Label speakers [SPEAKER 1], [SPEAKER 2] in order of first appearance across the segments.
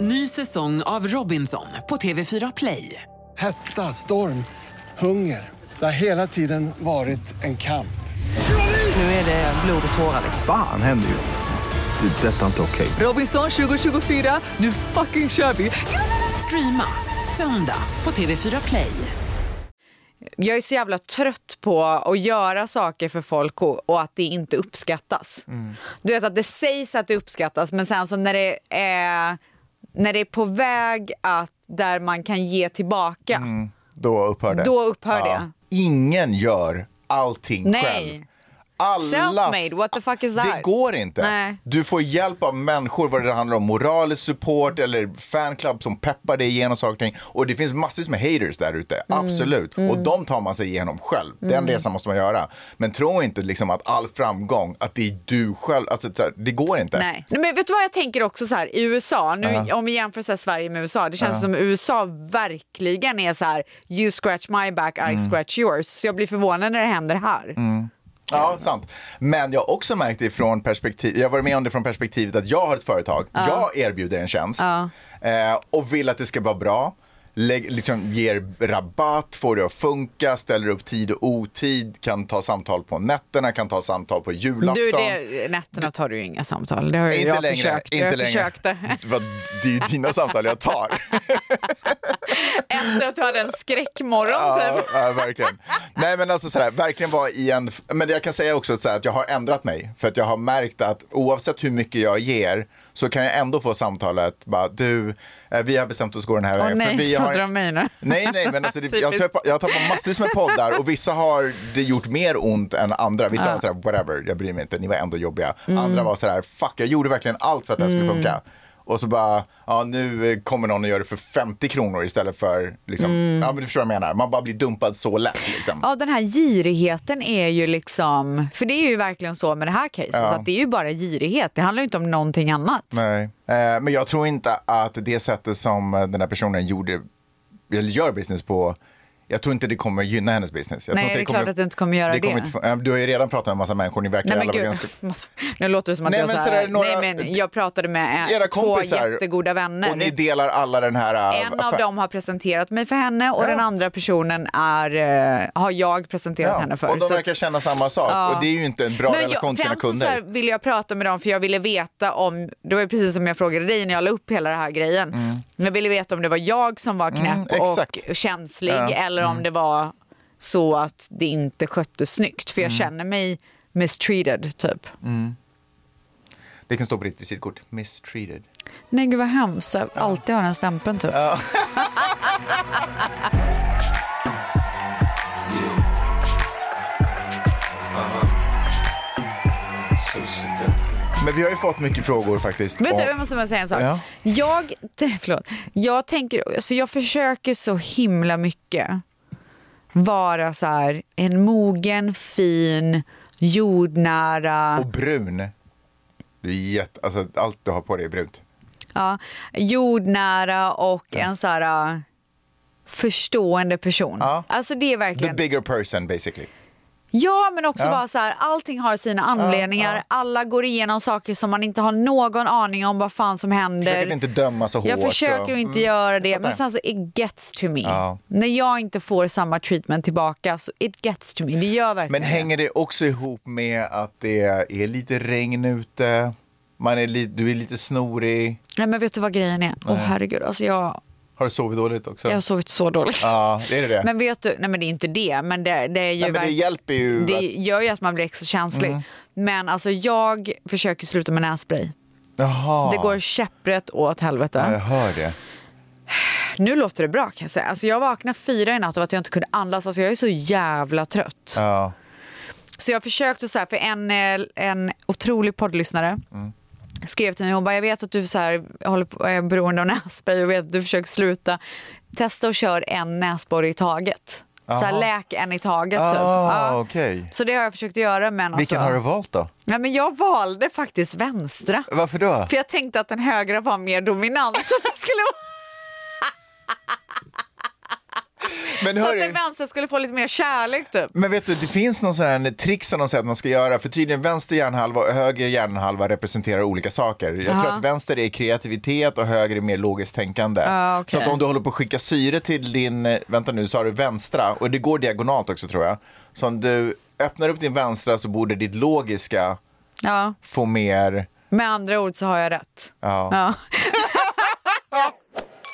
[SPEAKER 1] Ny säsong av Robinson på TV4 Play.
[SPEAKER 2] Hetta, storm, hunger. Det har hela tiden varit en kamp.
[SPEAKER 1] Nu är det blod och tårar.
[SPEAKER 3] Fan händer just nu. Det. är Detta är inte okej.
[SPEAKER 1] Robinson 2024, nu fucking kör vi! Streama söndag på TV4 Play.
[SPEAKER 4] Jag är så jävla trött på att göra saker för folk och, och att det inte uppskattas.
[SPEAKER 5] Mm.
[SPEAKER 4] Du vet att det sägs att det uppskattas men sen så när det är, när det är på väg att där man kan ge tillbaka.
[SPEAKER 5] Mm. Då upphör det.
[SPEAKER 4] Då upphör det.
[SPEAKER 5] Ingen gör allting
[SPEAKER 4] Nej.
[SPEAKER 5] själv. Alla...
[SPEAKER 4] Self-made, what the fuck is
[SPEAKER 5] Det
[SPEAKER 4] that?
[SPEAKER 5] går inte.
[SPEAKER 4] Nej.
[SPEAKER 5] Du får hjälp av människor, vad det handlar om moralisk support eller fanclub som peppar dig igenom saker och ting. Och det finns massvis med haters där ute,
[SPEAKER 4] Mm.
[SPEAKER 5] absolut. Och de tar man sig igenom själv. Den resan måste man göra. Men tro inte liksom att all framgång, att det är du själv, alltså så här, det går inte.
[SPEAKER 4] Nej. Nej, men vet du vad jag tänker också så här i USA, nu, om vi jämför så här, Sverige med USA, det känns som USA verkligen är så här you scratch my back, I
[SPEAKER 5] Mm.
[SPEAKER 4] scratch yours. Så jag blir förvånad när det händer här.
[SPEAKER 5] Ja, sant. Men jag har också märkt det från perspektiv, jag har varit med om det från perspektivet att jag har ett företag, jag erbjuder en tjänst eh, och vill att det ska vara bra. Lägg, liksom, ger rabatt, får det att funka, ställer upp tid och otid, kan ta samtal på nätterna, kan ta samtal på julafton.
[SPEAKER 4] Du, det, nätterna tar du ju inga samtal. Det har ju
[SPEAKER 5] Inte
[SPEAKER 4] jag
[SPEAKER 5] längre.
[SPEAKER 4] försökt.
[SPEAKER 5] inte
[SPEAKER 4] jag
[SPEAKER 5] längre.
[SPEAKER 4] försökte.
[SPEAKER 5] Vad- Det är ju dina samtal jag tar.
[SPEAKER 4] Efter att du hade en skräckmorgon
[SPEAKER 5] Ja,
[SPEAKER 4] typ.
[SPEAKER 5] ja, verkligen. Nej, men alltså sådär, verkligen vara i en... Men jag kan säga också såhär, att jag har ändrat mig. För att jag har märkt att oavsett hur mycket jag ger så kan jag ändå få samtalet, bara du, eh, vi har bestämt oss gå den här
[SPEAKER 4] Åh
[SPEAKER 5] vägen. för vi
[SPEAKER 4] nej,
[SPEAKER 5] har...
[SPEAKER 4] vad drar mig nu.
[SPEAKER 5] Nej, nej, men alltså, det, jag,
[SPEAKER 4] Typiskt.
[SPEAKER 5] tappar, jag tappar massvis med poddar och vissa har det gjort mer ont än andra. Vissa var sådär, whatever, jag bryr mig inte, ni var ändå jobbiga.
[SPEAKER 4] Mm.
[SPEAKER 5] Andra var sådär, fuck, jag gjorde verkligen allt för att det här skulle funka. Och så bara, ja nu eh, kommer någon och gör det för 50 kronor istället för, liksom, ja men du förstår vad jag menar, man bara blir dumpad så lätt liksom.
[SPEAKER 4] Mm. Ja, den här girigheten är ju liksom... För det är ju verkligen så med det här caset. Så att det är ju bara girighet. Det handlar ju inte om någonting annat.
[SPEAKER 5] Nej. Eh, men jag tror inte att det sättet som eh, den här personen gjorde, eller gör business på, jag tror inte det kommer gynna hennes business. Jag
[SPEAKER 4] Nej,
[SPEAKER 5] tror
[SPEAKER 4] det är klart att det inte kommer göra det.
[SPEAKER 5] kommer inte få- eh, du har ju redan pratat med en massa människor, ni verkar
[SPEAKER 4] Nej
[SPEAKER 5] alla
[SPEAKER 4] men
[SPEAKER 5] vara
[SPEAKER 4] gud,
[SPEAKER 5] ganska...
[SPEAKER 4] måste- nu låter det som att
[SPEAKER 5] Nej,
[SPEAKER 4] jag
[SPEAKER 5] men
[SPEAKER 4] så
[SPEAKER 5] sådär,
[SPEAKER 4] här,
[SPEAKER 5] några-
[SPEAKER 4] nej men jag pratade med
[SPEAKER 5] Era
[SPEAKER 4] eh, två
[SPEAKER 5] kompisar.
[SPEAKER 4] jättegoda vänner.
[SPEAKER 5] Och ni delar alla den här... äh,
[SPEAKER 4] En av
[SPEAKER 5] affär-
[SPEAKER 4] dem har presenterat mig för henne och
[SPEAKER 5] Ja.
[SPEAKER 4] den andra personen är, eh, har jag presenterat henne för.
[SPEAKER 5] Och de
[SPEAKER 4] Så att-
[SPEAKER 5] verkar känna samma sak. Och det är ju inte en bra relation till sina
[SPEAKER 4] främst så
[SPEAKER 5] kunder.
[SPEAKER 4] Så här ville jag prata med dem för jag ville veta om, det var ju precis som jag frågade dig när jag la upp hela den här grejen. Jag ville veta om det var jag som var knäpp
[SPEAKER 5] Mm,
[SPEAKER 4] och
[SPEAKER 5] exakt. Mm.
[SPEAKER 4] känslig eller om det var så att det inte sköttes snyggt.
[SPEAKER 5] Mm.
[SPEAKER 4] För jag känner mig mistreated typ.
[SPEAKER 5] Det kan stå på ditt visitkort. Mistreated.
[SPEAKER 4] Nej gud vad hemskt, jag alltid har den stämpeln typ.
[SPEAKER 5] Men vi har ju fått mycket frågor faktiskt.
[SPEAKER 4] Vet du,
[SPEAKER 5] om-
[SPEAKER 4] jag måste bara säga en sak.
[SPEAKER 5] Ja.
[SPEAKER 4] Jag, det- förlåt, jag tänker, alltså jag försöker så himla mycket vara så här en mogen, fin, jordnära,
[SPEAKER 5] Och brun. Du är jätte... Alltså allt du har på dig är brunt.
[SPEAKER 4] ja, jordnära och en så här äh, förstående person.
[SPEAKER 5] Ja.
[SPEAKER 4] Alltså det är
[SPEAKER 5] The
[SPEAKER 4] verkligen.
[SPEAKER 5] bigger person basically.
[SPEAKER 4] Ja, men också
[SPEAKER 5] Ja.
[SPEAKER 4] bara så här, allting har sina anledningar. Alla går igenom saker som man inte har någon aning om vad fan som händer.
[SPEAKER 5] Försök att inte döma så hårt.
[SPEAKER 4] Jag försöker
[SPEAKER 5] och-
[SPEAKER 4] att inte
[SPEAKER 5] Mm.
[SPEAKER 4] göra det,
[SPEAKER 5] fattar.
[SPEAKER 4] men sen så it gets to me.
[SPEAKER 5] Ja.
[SPEAKER 4] När jag inte får samma treatment tillbaka, så it gets to me. Det gör verkligen
[SPEAKER 5] Men hänger det också ihop med att det är lite regn ute? Man är li... Du är lite snorig.
[SPEAKER 4] det. Nej, men vet du vad grejen är? Åh herregud, alltså jag,
[SPEAKER 5] Har du sovit dåligt också?
[SPEAKER 4] jag har sovit så dåligt.
[SPEAKER 5] Ja, det är det.
[SPEAKER 4] Men vet du, nej men det är inte det, men det, det är ju
[SPEAKER 5] Nej, men det
[SPEAKER 4] verkligen-
[SPEAKER 5] hjälper ju.
[SPEAKER 4] Det
[SPEAKER 5] att- Mm.
[SPEAKER 4] gör ju att man blir extra känslig. Men alltså jag försöker sluta med nässpray.
[SPEAKER 5] Jaha.
[SPEAKER 4] Det går käpprätt åt helvete.
[SPEAKER 5] Ja, jag hör det.
[SPEAKER 4] Nu låter det bra kan jag säga. Alltså jag vaknade fyra i natt av att jag inte kunde andas. Alltså jag är så jävla trött.
[SPEAKER 5] Ja.
[SPEAKER 4] Så jag försökte så här, för en, eh, en otrolig poddlyssnare
[SPEAKER 5] Mm.
[SPEAKER 4] skrev till mig, hon bara, jag vet att du så här, håller på, är beroende av nässpray och vet att du försöker sluta. Testa och kör en näsborre i taget. Så här,
[SPEAKER 5] Aha.
[SPEAKER 4] läk en i taget
[SPEAKER 5] Ah,
[SPEAKER 4] typ. Ja. Alltså.
[SPEAKER 5] okej.
[SPEAKER 4] Så det har jag försökt göra men alltså,
[SPEAKER 5] Vilken har du valt då?
[SPEAKER 4] ja, men jag valde faktiskt vänstra.
[SPEAKER 5] Varför då?
[SPEAKER 4] För jag tänkte att den högra var mer dominant. Så att det skulle vara...
[SPEAKER 5] Men
[SPEAKER 4] så
[SPEAKER 5] hörru-
[SPEAKER 4] att den vänster skulle få lite mer kärlek typ.
[SPEAKER 5] Men vet du, det finns någon sån här trick som de säger att man ska göra. För tydligen vänster hjärnhalva och höger hjärnhalva representerar olika saker. Jag tror att vänster är kreativitet och höger är mer logiskt tänkande.
[SPEAKER 4] Ja, okej.
[SPEAKER 5] Så att om du håller på att skicka syre till din, eh, vänta nu, så har du vänstra. Och det går diagonalt också tror jag. Så om du öppnar upp din vänstra så borde ditt logiska
[SPEAKER 4] Ja.
[SPEAKER 5] få mer,
[SPEAKER 4] Med andra ord så har jag rätt.
[SPEAKER 5] ja.
[SPEAKER 4] Ja.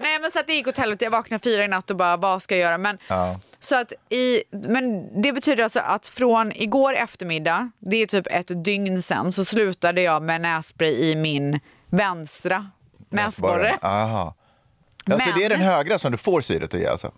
[SPEAKER 4] Nej men så att det gick åt helvete. Jag vaknade fyra i natt och bara vad ska jag göra? Men, så att i, men det betyder alltså att från igår eftermiddag, det är typ ett dygn sen, så slutade jag med nässpray i min vänstra näsborre.
[SPEAKER 5] Aha. Alltså
[SPEAKER 4] Men-
[SPEAKER 5] det är den högra som du får syret i alltså?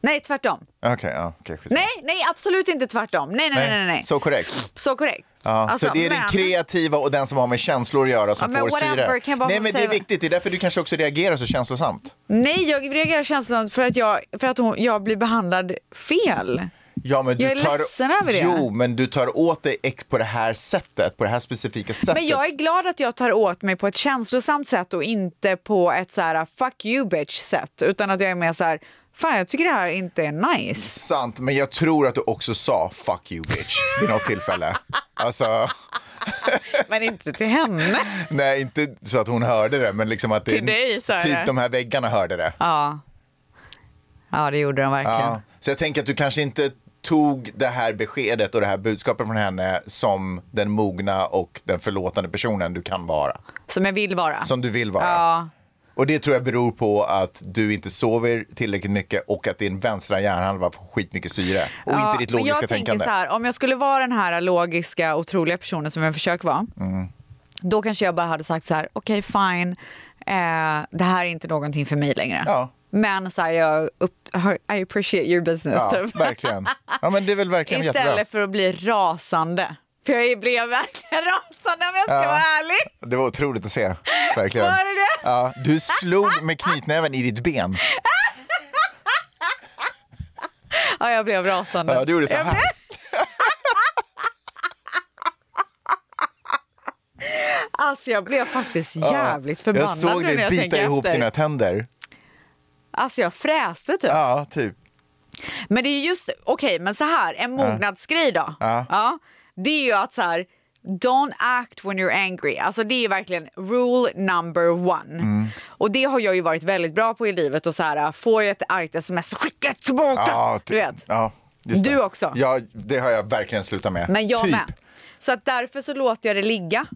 [SPEAKER 4] Nej tvärtom.
[SPEAKER 5] Okej, ja. okej, skitsamma.
[SPEAKER 4] Nej, nej absolut inte tvärtom. Nej, nej, nej. nej, nej.
[SPEAKER 5] Så korrekt.
[SPEAKER 4] Så korrekt.
[SPEAKER 5] Ja,
[SPEAKER 4] Alltså,
[SPEAKER 5] så det är den
[SPEAKER 4] men-
[SPEAKER 5] kreativa och den som har med känslor att göra som
[SPEAKER 4] Ja, men
[SPEAKER 5] får
[SPEAKER 4] whatever,
[SPEAKER 5] syre.
[SPEAKER 4] kan jag bara
[SPEAKER 5] Nej
[SPEAKER 4] få
[SPEAKER 5] men det är
[SPEAKER 4] säga-
[SPEAKER 5] viktigt, det är därför du kanske också reagerar så känslosamt.
[SPEAKER 4] Nej, jag reagerar känslan för att jag, för att hon, jag blir behandlad fel.
[SPEAKER 5] Ja, men
[SPEAKER 4] Jag
[SPEAKER 5] du
[SPEAKER 4] är
[SPEAKER 5] tar...
[SPEAKER 4] ledsen över det.
[SPEAKER 5] Jo, men du tar åt dig ex på det här sättet, på det här specifika sättet.
[SPEAKER 4] Men jag är glad att jag tar åt mig på ett känslosamt sätt och inte på ett så här uh, fuck you bitch sätt. Utan att jag är mer så här, fan jag tycker det här inte är nice.
[SPEAKER 5] Sant, men jag tror att du också sa fuck you bitch vid något tillfälle. Alltså,
[SPEAKER 4] Men inte till henne.
[SPEAKER 5] nej inte så att hon hörde det, men liksom att det,
[SPEAKER 4] Till dig sa jag
[SPEAKER 5] typ
[SPEAKER 4] det.
[SPEAKER 5] de här väggarna hörde det.
[SPEAKER 4] Ja. Ja, det gjorde de verkligen.
[SPEAKER 5] Ja, så jag tänker att du kanske inte tog det här beskedet och det här budskapet från henne som den mogna och den förlåtande personen du kan vara.
[SPEAKER 4] Som jag vill vara.
[SPEAKER 5] Som du vill vara.
[SPEAKER 4] Ja.
[SPEAKER 5] Och det tror jag beror på att du inte sover tillräckligt mycket och att din vänstra hjärnhalva får skitmycket syre. Och inte ditt
[SPEAKER 4] men
[SPEAKER 5] logiska
[SPEAKER 4] jag
[SPEAKER 5] tänkande.
[SPEAKER 4] Tänker så här, om jag skulle vara den här logiska, otroliga personen som jag försöker vara,
[SPEAKER 5] Mm.
[SPEAKER 4] då kanske jag bara hade sagt så här, okej fine, eh, det här är inte någonting för mig längre.
[SPEAKER 5] Ja.
[SPEAKER 4] Men så här, jag upp, I appreciate your business
[SPEAKER 5] ja,
[SPEAKER 4] typ.
[SPEAKER 5] verkligen. Ja, men det är väl verkligen
[SPEAKER 4] Istället
[SPEAKER 5] jättebra.
[SPEAKER 4] för att bli rasande. För jag blev verkligen rasande om jag ska
[SPEAKER 5] Ja.
[SPEAKER 4] vara ärlig.
[SPEAKER 5] Det var otroligt att se. Verkligen.
[SPEAKER 4] Var det det?
[SPEAKER 5] Ja, du slog med knytnäven i ditt ben.
[SPEAKER 4] Ja, jag blev rasande.
[SPEAKER 5] Ja, du gjorde så
[SPEAKER 4] Jag blev-
[SPEAKER 5] här.
[SPEAKER 4] Alltså jag blev faktiskt
[SPEAKER 5] Ja.
[SPEAKER 4] jävligt förbannad
[SPEAKER 5] Jag såg
[SPEAKER 4] nu när
[SPEAKER 5] dig
[SPEAKER 4] jag
[SPEAKER 5] bita
[SPEAKER 4] tänker
[SPEAKER 5] ihop
[SPEAKER 4] efter.
[SPEAKER 5] dina tänder.
[SPEAKER 4] Alltså jag fräste typ.
[SPEAKER 5] Ja, typ.
[SPEAKER 4] Men det är just, okej men så här, en mognadsgrej då.
[SPEAKER 5] Ja.
[SPEAKER 4] det är ju att så här, don't act when you're angry. Alltså det är verkligen rule number one.
[SPEAKER 5] Mm.
[SPEAKER 4] Och det har jag ju varit väldigt bra på i livet och så här, äh, får jag ett argt sms så skicka det tillbaka.
[SPEAKER 5] Ja, typ.
[SPEAKER 4] du vet.
[SPEAKER 5] Ja, just
[SPEAKER 4] Du
[SPEAKER 5] det.
[SPEAKER 4] också.
[SPEAKER 5] Ja, det har jag verkligen slutat med.
[SPEAKER 4] Men jag
[SPEAKER 5] typ. Mhm.
[SPEAKER 4] med. Så att därför så låter jag det ligga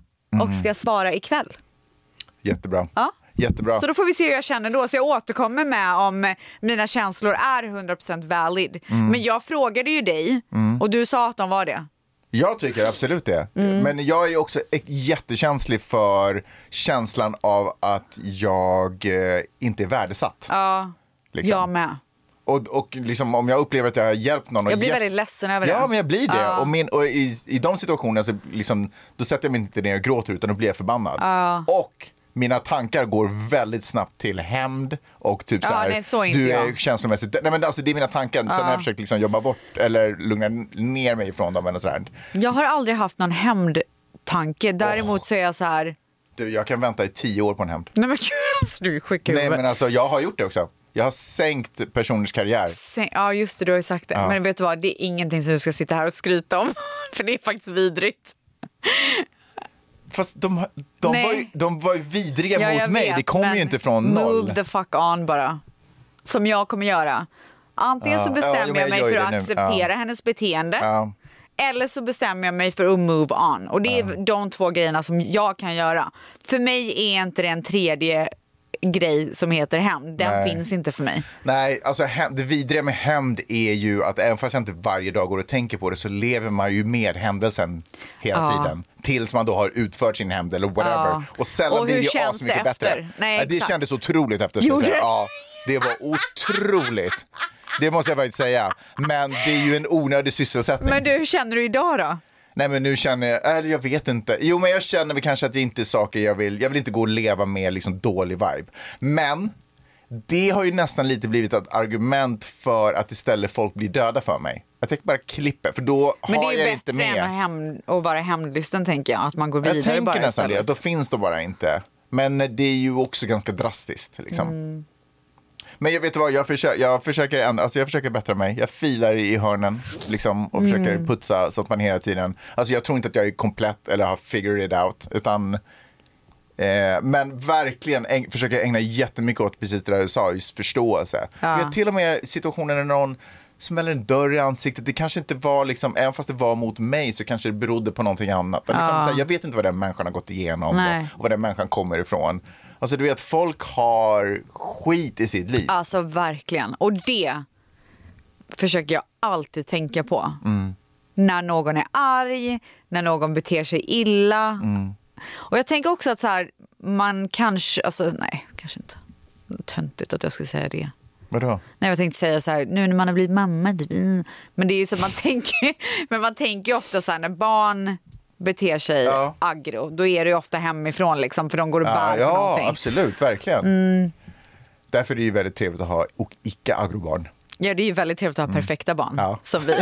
[SPEAKER 4] och ska svara ikväll.
[SPEAKER 5] Jättebra.
[SPEAKER 4] Ja.
[SPEAKER 5] Jättebra.
[SPEAKER 4] Så då får vi se hur jag känner då. Så jag återkommer med om eh, mina känslor är 100% valid.
[SPEAKER 5] Mm.
[SPEAKER 4] Men jag frågade ju dig och du sa att de var det.
[SPEAKER 5] Jag tycker absolut det.
[SPEAKER 4] Mm.
[SPEAKER 5] Men jag är också e- jättekänslig för känslan av att jag eh, inte är värdesatt.
[SPEAKER 4] Ja,
[SPEAKER 5] liksom.
[SPEAKER 4] jag med.
[SPEAKER 5] Och, och liksom, om jag upplever att jag har hjälpt någon. och
[SPEAKER 4] Jag blir
[SPEAKER 5] hjälpt-
[SPEAKER 4] väldigt ledsen över det.
[SPEAKER 5] Ja, men jag blir det.
[SPEAKER 4] Ja.
[SPEAKER 5] Och, min, och i, i de situationerna så liksom, då sätter jag mig inte ner och gråter utan då blir jag förbannad. Och mina tankar går väldigt snabbt till hämnd och typ
[SPEAKER 4] Ja,
[SPEAKER 5] så här,
[SPEAKER 4] nej, så är inte
[SPEAKER 5] du är
[SPEAKER 4] jag.
[SPEAKER 5] känslomässigt, nej men alltså det är mina tankar, sen har jag försökt liksom jobba bort eller lugna ner mig ifrån dem eller sådär.
[SPEAKER 4] Jag har aldrig haft någon hämndtanke. Däremot så är jag så här...
[SPEAKER 5] Du, jag kan vänta i tio år på en hämnd.
[SPEAKER 4] Nej men gud, alltså, du är sjuk i
[SPEAKER 5] Nej
[SPEAKER 4] huvudet.
[SPEAKER 5] men alltså jag har gjort det också. Jag har sänkt personers karriär.
[SPEAKER 4] Sen- Ja just det, du har ju sagt det. Men vet du vad, det är ingenting som du ska sitta här och skryta om. För det är faktiskt vidrigt.
[SPEAKER 5] Fast de, de,
[SPEAKER 4] Nej.
[SPEAKER 5] var, ju, de var ju vidriga
[SPEAKER 4] Ja, jag
[SPEAKER 5] mot mig.
[SPEAKER 4] vet,
[SPEAKER 5] det kom
[SPEAKER 4] men
[SPEAKER 5] ju inte från noll.
[SPEAKER 4] Move the fuck on bara. Som jag kommer göra. Antingen så
[SPEAKER 5] Ja,
[SPEAKER 4] bestämmer
[SPEAKER 5] jo, men
[SPEAKER 4] jag
[SPEAKER 5] jag
[SPEAKER 4] mig
[SPEAKER 5] gör
[SPEAKER 4] för
[SPEAKER 5] ju
[SPEAKER 4] att
[SPEAKER 5] det nu.
[SPEAKER 4] acceptera hennes beteende.
[SPEAKER 5] Ja.
[SPEAKER 4] Eller så bestämmer jag mig för att move on. Och det är de två grejerna som jag kan göra. För mig är inte det en tredje grej som heter hämnd. Den
[SPEAKER 5] Nej.
[SPEAKER 4] finns inte för mig.
[SPEAKER 5] Nej, alltså hämnd- det vidriga med hämnd är ju att även fast jag inte varje dag går och tänker på det så lever man ju med händelsen hela
[SPEAKER 4] Ja.
[SPEAKER 5] tiden. Tills man då har utfört sin hämnd eller whatever.
[SPEAKER 4] Ja.
[SPEAKER 5] Och sällan
[SPEAKER 4] Och
[SPEAKER 5] blir
[SPEAKER 4] hur
[SPEAKER 5] det ju
[SPEAKER 4] känns
[SPEAKER 5] asmycket
[SPEAKER 4] det efter?
[SPEAKER 5] bättre.
[SPEAKER 4] Nej,
[SPEAKER 5] det
[SPEAKER 4] exakt.
[SPEAKER 5] kändes otroligt efter. Ska jag
[SPEAKER 4] Gjorde
[SPEAKER 5] säga.
[SPEAKER 4] det?
[SPEAKER 5] Ja, det var otroligt. Det måste jag faktiskt säga. Men det är ju en onödig sysselsättning.
[SPEAKER 4] Men du, hur känner du idag då?
[SPEAKER 5] Nej men nu känner jag, eller jag vet inte. Jo men jag känner väl kanske att det inte är saker jag vill, jag vill inte gå och leva med liksom dålig vibe. Men det har ju nästan lite blivit ett argument för att istället folk blir döda för mig. Jag tänker bara klippa, för då
[SPEAKER 4] Men det
[SPEAKER 5] har
[SPEAKER 4] är
[SPEAKER 5] jag
[SPEAKER 4] ju
[SPEAKER 5] inte
[SPEAKER 4] bättre
[SPEAKER 5] med.
[SPEAKER 4] än att, hämnd, att vara hämndlysten tänker jag. Att man går vidare
[SPEAKER 5] jag tänker
[SPEAKER 4] bara
[SPEAKER 5] nästan
[SPEAKER 4] istället.
[SPEAKER 5] det, då finns det bara inte. Men det är ju också ganska drastiskt liksom. Men jag vet du vad, jag, försö- jag, försöker ändå, alltså jag försöker bättra mig. Jag filar i hörnen liksom, och försöker putsa så att man hela tiden... Alltså jag tror inte att jag är komplett eller har figured it out. Utan, eh, men verkligen äg- försöker ägna jättemycket åt precis det där du sa, just förståelse. Vi har till och med situationer när någon smäller en dörr i ansiktet. Det kanske inte var, liksom, även fast det var mot mig så kanske det berodde på någonting annat. Men Liksom, så här, jag vet inte vad den människan har gått igenom
[SPEAKER 4] Nej.
[SPEAKER 5] och, och var den människan kommer ifrån. Alltså du vet, folk har skit i sitt liv.
[SPEAKER 4] Alltså verkligen. Och det försöker jag alltid tänka på.
[SPEAKER 5] Mm.
[SPEAKER 4] När någon är arg, när någon beter sig illa.
[SPEAKER 5] Mm.
[SPEAKER 4] Och jag tänker också att så här, man kanske, alltså nej, kanske inte. Töntigt att jag skulle säga det.
[SPEAKER 5] Vadå?
[SPEAKER 4] Nej, jag tänkte säga så här, nu när man har blivit mamma, det blir- men det är ju så att man tänker, men man tänker ju ofta så här när barn beter sig
[SPEAKER 5] Ja.
[SPEAKER 4] aggro, då är det ju ofta hemifrån liksom för de går och bär
[SPEAKER 5] Ja,
[SPEAKER 4] på
[SPEAKER 5] ja
[SPEAKER 4] någonting. Mm.
[SPEAKER 5] absolut, verkligen. Därför är det ju väldigt trevligt att ha och icke agrobarn.
[SPEAKER 4] Ja, det är ju väldigt trevligt att ha perfekta barn
[SPEAKER 5] Mm. Ja.
[SPEAKER 4] som vi.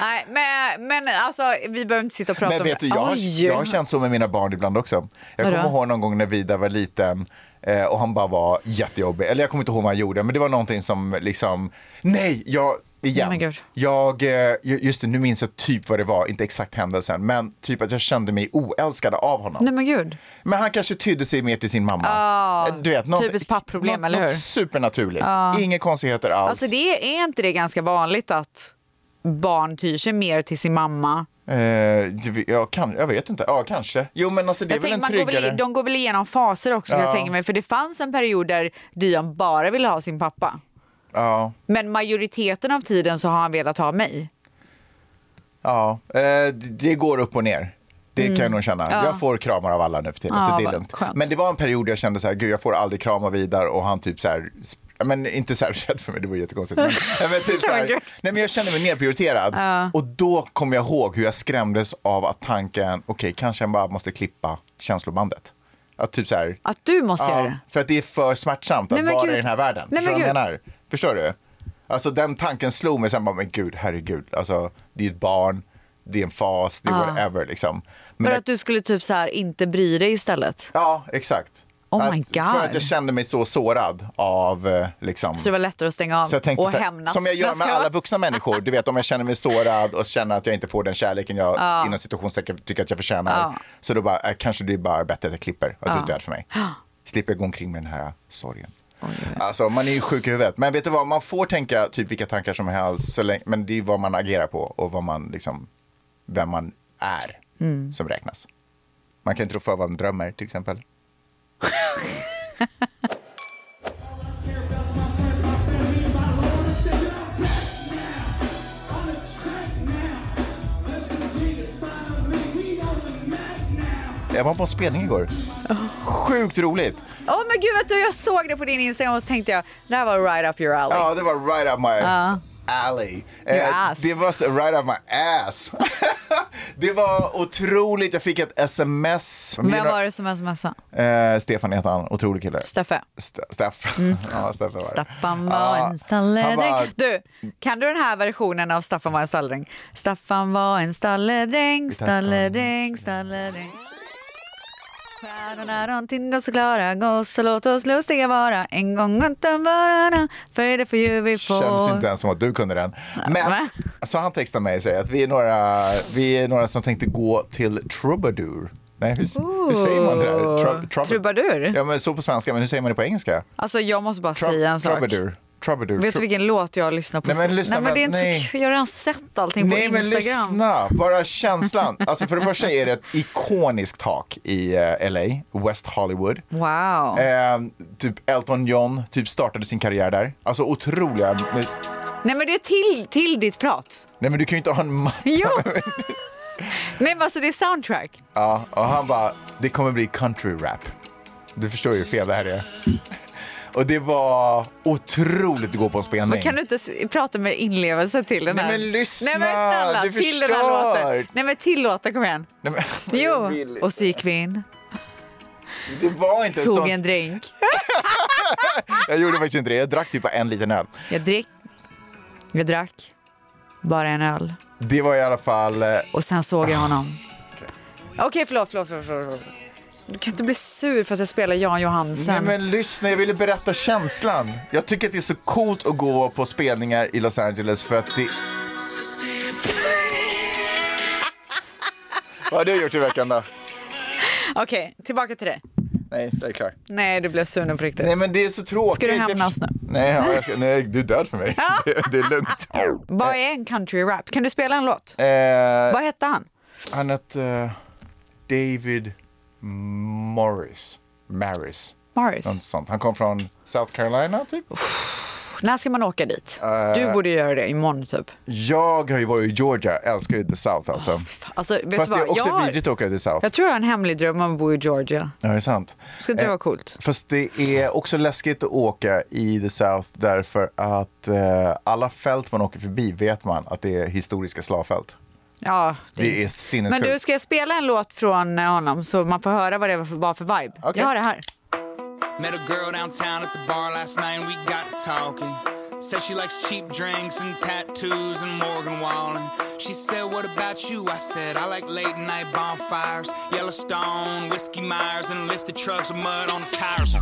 [SPEAKER 4] Nej, men, men alltså vi behöver inte sitta och prata
[SPEAKER 5] Men vet du,
[SPEAKER 4] om
[SPEAKER 5] jag, har-
[SPEAKER 4] Oj.
[SPEAKER 5] jag har känt så med mina barn ibland också. Jag
[SPEAKER 4] Vadå?
[SPEAKER 5] kommer ihåg någon gång när Vida var liten eh, och han bara var jättejobbig. Eller jag kommer inte ihåg vad han gjorde, men det var någonting som liksom, nej, jag, igen.
[SPEAKER 4] Oh my God.
[SPEAKER 5] jag, eh, ju- just det, nu minns jag typ vad det var, inte exakt händelsen, men typ att jag kände mig oälskad av honom.
[SPEAKER 4] Nej men gud.
[SPEAKER 5] Men han kanske tydde sig mer till sin mamma. Eh, du vet, något,
[SPEAKER 4] typiskt pappaproblem,
[SPEAKER 5] något,
[SPEAKER 4] eller hur? Ah.
[SPEAKER 5] Något supernaturligt. Inga konstigheter alls.
[SPEAKER 4] Alltså det är inte det ganska vanligt att barn tyr sig mer till sin mamma?
[SPEAKER 5] Eh, det- jag, kan, jag vet inte. Ja, kanske. Jo, men alltså, det är
[SPEAKER 4] Jag
[SPEAKER 5] väl
[SPEAKER 4] tänker,
[SPEAKER 5] en
[SPEAKER 4] man går
[SPEAKER 5] tryggare...
[SPEAKER 4] väl, i- de går väl igenom faser också,
[SPEAKER 5] Ja.
[SPEAKER 4] jag tänker mig. För det fanns en period där Dion bara ville ha sin pappa.
[SPEAKER 5] Ja,
[SPEAKER 4] Men majoriteten av tiden så har han velat ha mig.
[SPEAKER 5] ja. Eh, det- det går upp och ner. Det kan jag nog känna. Jag får kramar av alla nu för tiden,
[SPEAKER 4] Mm. Ja,
[SPEAKER 5] så det är
[SPEAKER 4] vad
[SPEAKER 5] lugnt.
[SPEAKER 4] skönt.
[SPEAKER 5] Men det var en period jag kände så här, gud jag får aldrig krama vidare och han typ så här, sp- ja, men inte så här rädd för mig, det var jättekonstigt. Men, ja, men typ så här,
[SPEAKER 4] gud.
[SPEAKER 5] nej men jag kände mig nedprioriterad. Och då kom jag ihåg hur jag skrämdes av att tanken, okej kanske jag bara måste klippa känslobandet. Att typ så här,
[SPEAKER 4] Att du måste
[SPEAKER 5] Ja,
[SPEAKER 4] göra det.
[SPEAKER 5] för att det är för smärtsamt
[SPEAKER 4] Nej,
[SPEAKER 5] att
[SPEAKER 4] men
[SPEAKER 5] vara
[SPEAKER 4] gud.
[SPEAKER 5] i den här världen.
[SPEAKER 4] Nej,
[SPEAKER 5] Förstår
[SPEAKER 4] men
[SPEAKER 5] du vad jag
[SPEAKER 4] gud.
[SPEAKER 5] menar? Förstår du? Alltså den tanken slog mig sen bara, men gud, herregud, alltså det är ett barn, det är en fas, det är whatever liksom. Men
[SPEAKER 4] För
[SPEAKER 5] jag-
[SPEAKER 4] att du skulle typ så här inte bry dig istället.
[SPEAKER 5] Ja, exakt.
[SPEAKER 4] Oh my
[SPEAKER 5] att,
[SPEAKER 4] God.
[SPEAKER 5] För att jag kände mig så sårad av eh, liksom.
[SPEAKER 4] Så det var lättare att stänga av
[SPEAKER 5] Så jag tänkte
[SPEAKER 4] och
[SPEAKER 5] så här,
[SPEAKER 4] hämnas.
[SPEAKER 5] som jag gör med alla vuxna människor, du vet om jag känner mig sårad och känner att jag inte får den kärleken jag inom situationstecken tycker att jag förtjänar. Så då bara, eh, kanske det är bara bättre att jag klipper, att du är död för mig. Slipper jag gå omkring med den här sorgen. Alltså man är ju sjuk i huvudet. Men vet du vad, man får tänka typ vilka tankar som helst, så länge, men det är ju vad man agerar på och vad man liksom, vem man är
[SPEAKER 4] Mm.
[SPEAKER 5] som räknas. Man kan inte tro för vad man drömmer till exempel. Jag var på en spelning igår. Sjukt roligt.
[SPEAKER 4] Åh men gud, vet du, jag såg det på din Instagram och så tänkte jag, det här var right up your alley.
[SPEAKER 5] Ja, det var right up my alley. Eh,
[SPEAKER 4] Your ass.
[SPEAKER 5] Det var så- right up my ass. det var otroligt. Jag fick ett sms.
[SPEAKER 4] Vem var det som smsade?
[SPEAKER 5] det? Eh, Stefan heter han. Otrolig kille.
[SPEAKER 4] Steffe?
[SPEAKER 5] St- Steff. ja, Steff var det.
[SPEAKER 4] Mm. Staffan var
[SPEAKER 5] Ja,
[SPEAKER 4] en stalledräng.
[SPEAKER 5] han bara-
[SPEAKER 4] Du, kan du den här versionen av Staffan var en stalledräng? Staffan var en stalledräng, stalledräng, stalledräng. Stjärnorna de tindrar så klara, goss och låt oss lustiga vara. En gång utan varandra, för det får ju vi få.
[SPEAKER 5] Känns inte ens som att du kunde den. Men,
[SPEAKER 4] va?
[SPEAKER 5] så han textar mig och säger att vi är några, vi är några som tänkte gå till Troubadour. Nej, hur, hur säger man det där? Trou- trouba-
[SPEAKER 4] Trubadur?
[SPEAKER 5] Ja, men så på svenska, men hur säger man det på engelska?
[SPEAKER 4] Alltså jag måste bara
[SPEAKER 5] Trou-
[SPEAKER 4] säga en sak.
[SPEAKER 5] Troubadour. Troubadour.
[SPEAKER 4] Vet du
[SPEAKER 5] Trou-
[SPEAKER 4] vilken låt jag lyssnar på?
[SPEAKER 5] Nej, men
[SPEAKER 4] så-
[SPEAKER 5] lyssna,
[SPEAKER 4] nej, men det är inte
[SPEAKER 5] nej.
[SPEAKER 4] så kul. Jag har redan sett allting på
[SPEAKER 5] Nej men
[SPEAKER 4] Instagram.
[SPEAKER 5] lyssna, bara känslan. Alltså för det första är det ett ikoniskt tak i eh, LA, West Hollywood.
[SPEAKER 4] Wow.
[SPEAKER 5] Eh, typ Elton John typ startade sin karriär där. Alltså otroliga... men-
[SPEAKER 4] Nej men det är till, till ditt prat.
[SPEAKER 5] Nej men du kan ju inte ha en matta.
[SPEAKER 4] Jo! nej men alltså det är soundtrack.
[SPEAKER 5] Ja, och han bara, det kommer bli country rap. Du förstår ju hur fel det här är. Och det var otroligt att gå på en spelning.
[SPEAKER 4] Men kan du inte s- prata med inlevelse till den
[SPEAKER 5] Nej,
[SPEAKER 4] här?
[SPEAKER 5] men lyssna,
[SPEAKER 4] Nej men snälla,
[SPEAKER 5] du
[SPEAKER 4] till den här
[SPEAKER 5] förstör.
[SPEAKER 4] låten. Nej men till låten, kom igen.
[SPEAKER 5] Nej, men,
[SPEAKER 4] Jo, och så gick vi in,
[SPEAKER 5] det var inte
[SPEAKER 4] tog
[SPEAKER 5] sånt.
[SPEAKER 4] en drink.
[SPEAKER 5] Jag gjorde faktiskt inte det. Jag drack typ bara en liten öl.
[SPEAKER 4] Jag drick, jag drack, bara en öl.
[SPEAKER 5] Det var i alla fall... eh,
[SPEAKER 4] Och sen såg jag honom. Ah. Okej, förlåt, förlåt, förlåt, förlåt, förlåt. Du kan inte bli sur för att jag spelar Jan
[SPEAKER 5] Nej
[SPEAKER 4] Johansen.
[SPEAKER 5] men lyssna, jag ville berätta känslan. Jag tycker att det är så coolt att gå på spelningar i Los Angeles för att det... Vad har du gjort i veckan då?
[SPEAKER 4] Okej, tillbaka till dig.
[SPEAKER 5] Nej, jag är klar.
[SPEAKER 4] Nej, du blev sur nu på riktigt.
[SPEAKER 5] Nej men det är så tråkigt.
[SPEAKER 4] Ska du hämna oss nu?
[SPEAKER 5] Nej, ja, jag ska, nej, du är död för mig. Det, det är lugnt.
[SPEAKER 4] Vad är en country rap? Kan du spela en låt?
[SPEAKER 5] Eh,
[SPEAKER 4] Vad hette han?
[SPEAKER 5] han hette eh, David Morris. Maris. Något
[SPEAKER 4] Morris?
[SPEAKER 5] sånt. Han kom från South Carolina typ.
[SPEAKER 4] När ska man åka dit? Du borde göra det imorgon typ.
[SPEAKER 5] Jag har ju varit i Georgia, älskar ju The South alltså.
[SPEAKER 4] Alltså, vet
[SPEAKER 5] Fast
[SPEAKER 4] du vad?
[SPEAKER 5] det är också
[SPEAKER 4] jag, har-
[SPEAKER 5] vidrigt att åka till The South.
[SPEAKER 4] jag tror jag har en hemlig dröm om att bo i Georgia.
[SPEAKER 5] Ja, det är sant.
[SPEAKER 4] Ska inte det
[SPEAKER 5] Eh,
[SPEAKER 4] vara coolt?
[SPEAKER 5] Fast det är också läskigt att åka i the South därför att eh, alla fält man åker förbi vet man att det är historiska slavfält.
[SPEAKER 4] Ja, det,
[SPEAKER 5] Det är
[SPEAKER 4] inte-
[SPEAKER 5] sinnessjukt.
[SPEAKER 4] Men du, ska jag spela en låt från eh, honom så man får höra vad det var för, var för vibe?
[SPEAKER 5] Okej.
[SPEAKER 4] Jag har det här.
[SPEAKER 6] Met a girl downtown at the bar last night and we got to talking. Said she likes cheap drinks and tattoos and Morgan Wallen. She said, What about you? I said, I like late night bonfires, Yellowstone, Whiskey Myers, and lifted trucks with mud on the tires.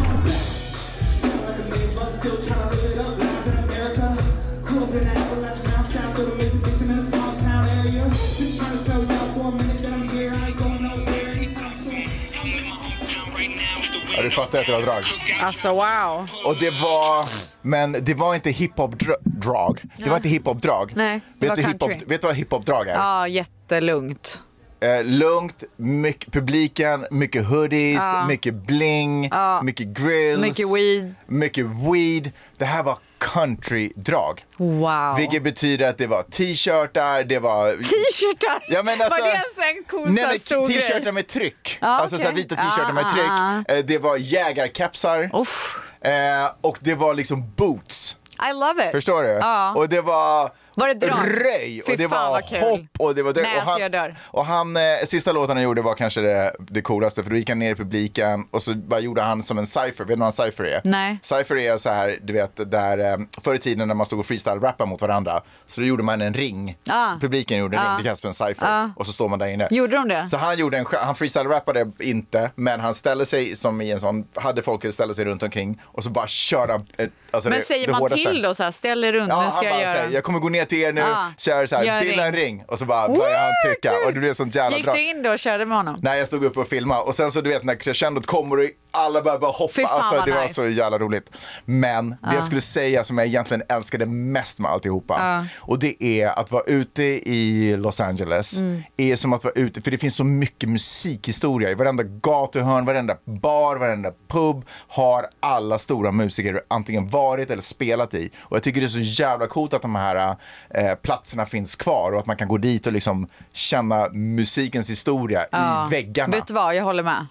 [SPEAKER 5] Ja, du fattar att det var drag.
[SPEAKER 4] Alltså wow.
[SPEAKER 5] Och det var, men det var inte hiphop-drag. Det var inte hiphop-drag.
[SPEAKER 4] Nej, det
[SPEAKER 5] vet,
[SPEAKER 4] var
[SPEAKER 5] du hiphop,
[SPEAKER 4] country.
[SPEAKER 5] vet du vad hiphop-drag är?
[SPEAKER 4] Ja, jättelugnt.
[SPEAKER 5] Eh, lugnt, mycket publiken, mycket hoodies, mycket bling, mycket grills.
[SPEAKER 4] Mycket weed.
[SPEAKER 5] Mycket weed. Det här var country-drag.
[SPEAKER 4] Wow.
[SPEAKER 5] Vilket betyder att det var t-shirtar, det var...
[SPEAKER 4] T-shirtar!
[SPEAKER 5] Ja, men alltså,
[SPEAKER 4] Var det ens en cool
[SPEAKER 5] Nej
[SPEAKER 4] så här
[SPEAKER 5] men
[SPEAKER 4] stor grej?
[SPEAKER 5] t-shirtar med tryck.
[SPEAKER 4] Ja,
[SPEAKER 5] alltså
[SPEAKER 4] okej.
[SPEAKER 5] så här vita t-shirtar med
[SPEAKER 4] Ah,
[SPEAKER 5] tryck.
[SPEAKER 4] ah,
[SPEAKER 5] Eh, Det var jägarkepsar.
[SPEAKER 4] Uff.
[SPEAKER 5] Eh, och det var liksom boots.
[SPEAKER 4] I love it.
[SPEAKER 5] Förstår du?
[SPEAKER 4] Ja.
[SPEAKER 5] Och det var...
[SPEAKER 4] Var det drag?
[SPEAKER 5] Röj
[SPEAKER 4] Fy
[SPEAKER 5] och det
[SPEAKER 4] fan,
[SPEAKER 5] var
[SPEAKER 4] vad kul.
[SPEAKER 5] hopp och det var drag.
[SPEAKER 4] Nej,
[SPEAKER 5] och han,
[SPEAKER 4] alltså, jag dör.
[SPEAKER 5] Och han, eh, sista låten han gjorde var kanske det, det coolaste för då gick han ner i publiken och så bara gjorde han som en cypher. Vet du vad en cypher är?
[SPEAKER 4] Nej.
[SPEAKER 5] Cypher är så här, du vet, där eh, förr i tiden när man stod och freestyle-rappade mot varandra så då gjorde man en ring.
[SPEAKER 4] Ah.
[SPEAKER 5] Publiken gjorde en ring, det kallas för en cypher. Och så står man där inne.
[SPEAKER 4] Gjorde de det?
[SPEAKER 5] Så han gjorde en, sj- han freestyle-rappade inte, men han ställde sig som i en sån, hade folk ställa sig runt omkring och så bara köra, eh, alltså
[SPEAKER 4] men
[SPEAKER 5] det,
[SPEAKER 4] säger
[SPEAKER 5] det
[SPEAKER 4] man
[SPEAKER 5] hårdaste.
[SPEAKER 4] till då så här, ställ er runt, nu
[SPEAKER 5] Ja,
[SPEAKER 4] ska
[SPEAKER 5] han
[SPEAKER 4] jag
[SPEAKER 5] bara
[SPEAKER 4] göra.
[SPEAKER 5] säger, jag kommer gå ner till er nu,
[SPEAKER 4] Ja.
[SPEAKER 5] kör så
[SPEAKER 4] Gör
[SPEAKER 5] här,
[SPEAKER 4] en
[SPEAKER 5] bilda en
[SPEAKER 4] ring."
[SPEAKER 5] ring. Och så bara börjar han trycka och det blev sånt jävla
[SPEAKER 4] Gick
[SPEAKER 5] drag.
[SPEAKER 4] du in då och körde med honom?
[SPEAKER 5] Nej, jag stod uppe och filmade och sen så du vet när crescendot kommer och alla börjar bara hoppa.
[SPEAKER 4] Fy fan,
[SPEAKER 5] alltså,
[SPEAKER 4] vad
[SPEAKER 5] det var
[SPEAKER 4] nice.
[SPEAKER 5] så jävla roligt. Men det jag skulle säga som jag egentligen älskade mest med alltihopa och det är att vara ute i Los Angeles är som att vara ute, för det finns så mycket musikhistoria i varenda gatuhörn, varenda bar, varenda pub har alla stora musiker antingen varit eller spelat i. Och jag tycker det är så jävla coolt att de här eh, platserna finns kvar och att man kan gå dit och liksom känna musikens historia i väggarna.
[SPEAKER 4] Vet du vad, jag håller med.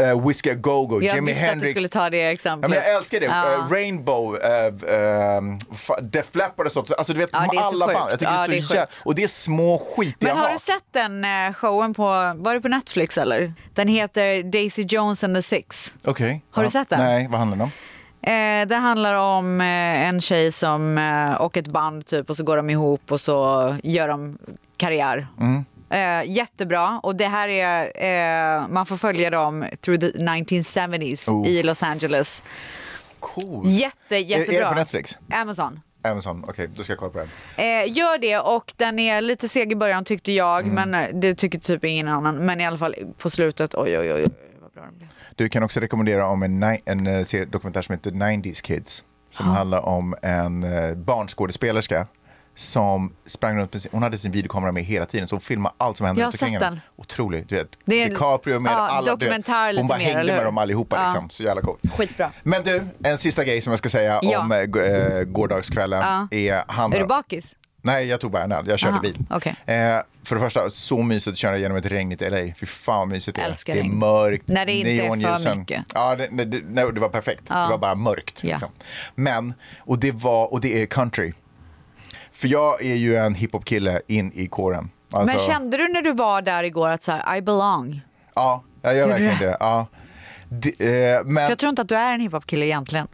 [SPEAKER 5] Uh, Whiskey A Go-Go,
[SPEAKER 4] Jag
[SPEAKER 5] Jimi
[SPEAKER 4] visste att du
[SPEAKER 5] Hendrix.
[SPEAKER 4] skulle ta det
[SPEAKER 5] Ja,
[SPEAKER 4] exemplet.
[SPEAKER 5] men jag älskar det.
[SPEAKER 4] Ja.
[SPEAKER 5] Eh, Rainbow, uh, Def Leppard och sånt. Alltså du vet,
[SPEAKER 4] Ja, det är så
[SPEAKER 5] alla
[SPEAKER 4] sjukt.
[SPEAKER 5] band. Jag tycker
[SPEAKER 4] Ja,
[SPEAKER 5] det
[SPEAKER 4] det
[SPEAKER 5] är
[SPEAKER 4] är
[SPEAKER 5] så
[SPEAKER 4] sjukt.
[SPEAKER 5] jävla... Och det är små skitiga
[SPEAKER 4] Men har
[SPEAKER 5] hak.
[SPEAKER 4] du sett den eh, showen på, var det på Netflix eller? Den heter Daisy Jones and the Six.
[SPEAKER 5] Okej.
[SPEAKER 4] Har du
[SPEAKER 5] Ja.
[SPEAKER 4] sett den?
[SPEAKER 5] Nej, vad handlar den om?
[SPEAKER 4] Eh, det handlar om eh, en tjej som, eh, och ett band typ och så går de ihop och så gör de karriär.
[SPEAKER 5] Mm.
[SPEAKER 4] Eh, jättebra och det här är, eh, man får följa dem through the 1970s
[SPEAKER 5] Oh.
[SPEAKER 4] i Los Angeles.
[SPEAKER 5] Cool.
[SPEAKER 4] Jätte,
[SPEAKER 5] Är, är
[SPEAKER 4] jättebra.
[SPEAKER 5] det på Netflix?
[SPEAKER 4] Amazon.
[SPEAKER 5] Amazon, okej. då ska jag kolla på den.
[SPEAKER 4] Eh, gör det och den är lite seg i början tyckte jag
[SPEAKER 5] Mm.
[SPEAKER 4] men eh, det tycker typ ingen annan. Men i alla fall på slutet, oj oj oj. oj, Vad bra den blev.
[SPEAKER 5] Du kan också rekommendera om en, ni- en eh, serie- dokumentär som heter 90s Kids. som
[SPEAKER 4] Ah.
[SPEAKER 5] handlar om en eh, barnskådespelerska som sprang runt med sin, hon hade sin videokamera med hela tiden så hon filmade allt som hände
[SPEAKER 4] Jag har
[SPEAKER 5] runt omkring
[SPEAKER 4] sett
[SPEAKER 5] henne.
[SPEAKER 4] den.
[SPEAKER 5] Otroligt, du vet.
[SPEAKER 4] Det är en-
[SPEAKER 5] DiCaprio med
[SPEAKER 4] ja,
[SPEAKER 5] alla, du vet,
[SPEAKER 4] dokumentär lite
[SPEAKER 5] hon bara
[SPEAKER 4] mer,
[SPEAKER 5] hängde
[SPEAKER 4] eller hur?
[SPEAKER 5] med dem allihopa
[SPEAKER 4] Ja.
[SPEAKER 5] liksom, så jävla coolt.
[SPEAKER 4] Skitbra.
[SPEAKER 5] Men du, en sista grej som jag ska säga
[SPEAKER 4] Ja.
[SPEAKER 5] om eh, g- eh, gårdagskvällen
[SPEAKER 4] Ja.
[SPEAKER 5] är handlar
[SPEAKER 4] Är du bakis?
[SPEAKER 5] Nej, jag tog bara en öl. Jag körde
[SPEAKER 4] Aha,
[SPEAKER 5] bil.
[SPEAKER 4] okej.
[SPEAKER 5] Eh, för det första, så mysigt att köra genom ett regnigt LA. Fy fan vad mysigt det är.
[SPEAKER 4] Älskar
[SPEAKER 5] det är
[SPEAKER 4] regn.
[SPEAKER 5] mörkt,
[SPEAKER 4] När det inte är för
[SPEAKER 5] neonljusen.
[SPEAKER 4] mycket.
[SPEAKER 5] Ja, det, det, det, nej, det var perfekt. Det var bara mörkt.
[SPEAKER 4] Ja.
[SPEAKER 5] Liksom. Men, och det, var, och det är country. För jag är ju en hiphop-kille in i kåren. Alltså-
[SPEAKER 4] Men kände du när du var där igår att så här, I belong?
[SPEAKER 5] Ja, jag gör
[SPEAKER 4] Gjorde du
[SPEAKER 5] verkligen
[SPEAKER 4] det?
[SPEAKER 5] det. Ja. Det, eh, men,
[SPEAKER 4] För jag tror inte att du är en hiphop-kille egentligen.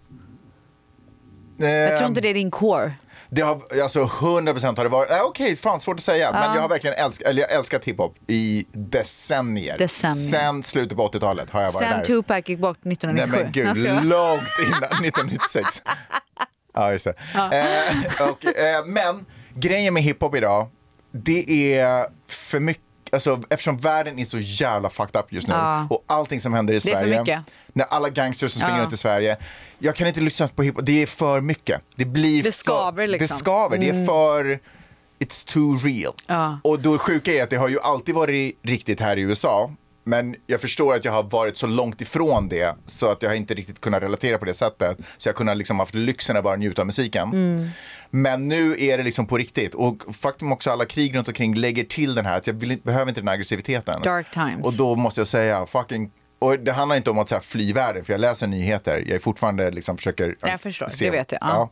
[SPEAKER 4] Jag tror
[SPEAKER 5] Ehm.
[SPEAKER 4] inte det är din core.
[SPEAKER 5] Det har, alltså 100% har det varit, äh, okej, fan svårt att säga, men jag har verkligen älskat, eller jag har älskat hiphop i decennier.
[SPEAKER 4] Decennier.
[SPEAKER 5] Sen slutet på 80-talet har jag varit
[SPEAKER 4] Sen
[SPEAKER 5] där.
[SPEAKER 4] Tupac gick bort
[SPEAKER 5] Nej
[SPEAKER 4] 1997.
[SPEAKER 5] men
[SPEAKER 4] Jag
[SPEAKER 5] gud,
[SPEAKER 4] skojar.
[SPEAKER 5] långt innan 1996. ja, just det. Eh, och, eh, men grejen med hiphop idag, det är för mycket, alltså, eftersom världen är så jävla fucked up just nu
[SPEAKER 4] Ja.
[SPEAKER 5] och allting som händer i
[SPEAKER 4] Det är för
[SPEAKER 5] Sverige.
[SPEAKER 4] mycket.
[SPEAKER 5] När alla gangsters som springer
[SPEAKER 4] Ja.
[SPEAKER 5] runt i Sverige. Jag kan inte lyssna på hiphop, det är för mycket. Det blir
[SPEAKER 4] Det
[SPEAKER 5] för-
[SPEAKER 4] skaver liksom.
[SPEAKER 5] Det skaver, det är för... It's too real.
[SPEAKER 4] Ja.
[SPEAKER 5] Och då sjuka är att det har ju alltid varit riktigt här i USA. Men jag förstår att jag har varit så långt ifrån det så att jag inte riktigt kunnat relatera på det sättet. Så jag kunde liksom haft lyxen att bara njuta av musiken.
[SPEAKER 4] Mm.
[SPEAKER 5] Men nu är det liksom på riktigt. Och faktum också alla krig runt omkring lägger till den här att jag vill, inte- behöver inte den här aggressiviteten.
[SPEAKER 4] Dark times.
[SPEAKER 5] Och då måste jag säga fucking och det handlar inte om att så här, fly världen, för jag läser nyheter. Jag är fortfarande liksom försöker
[SPEAKER 4] Jag förstår, det vet jag, ja.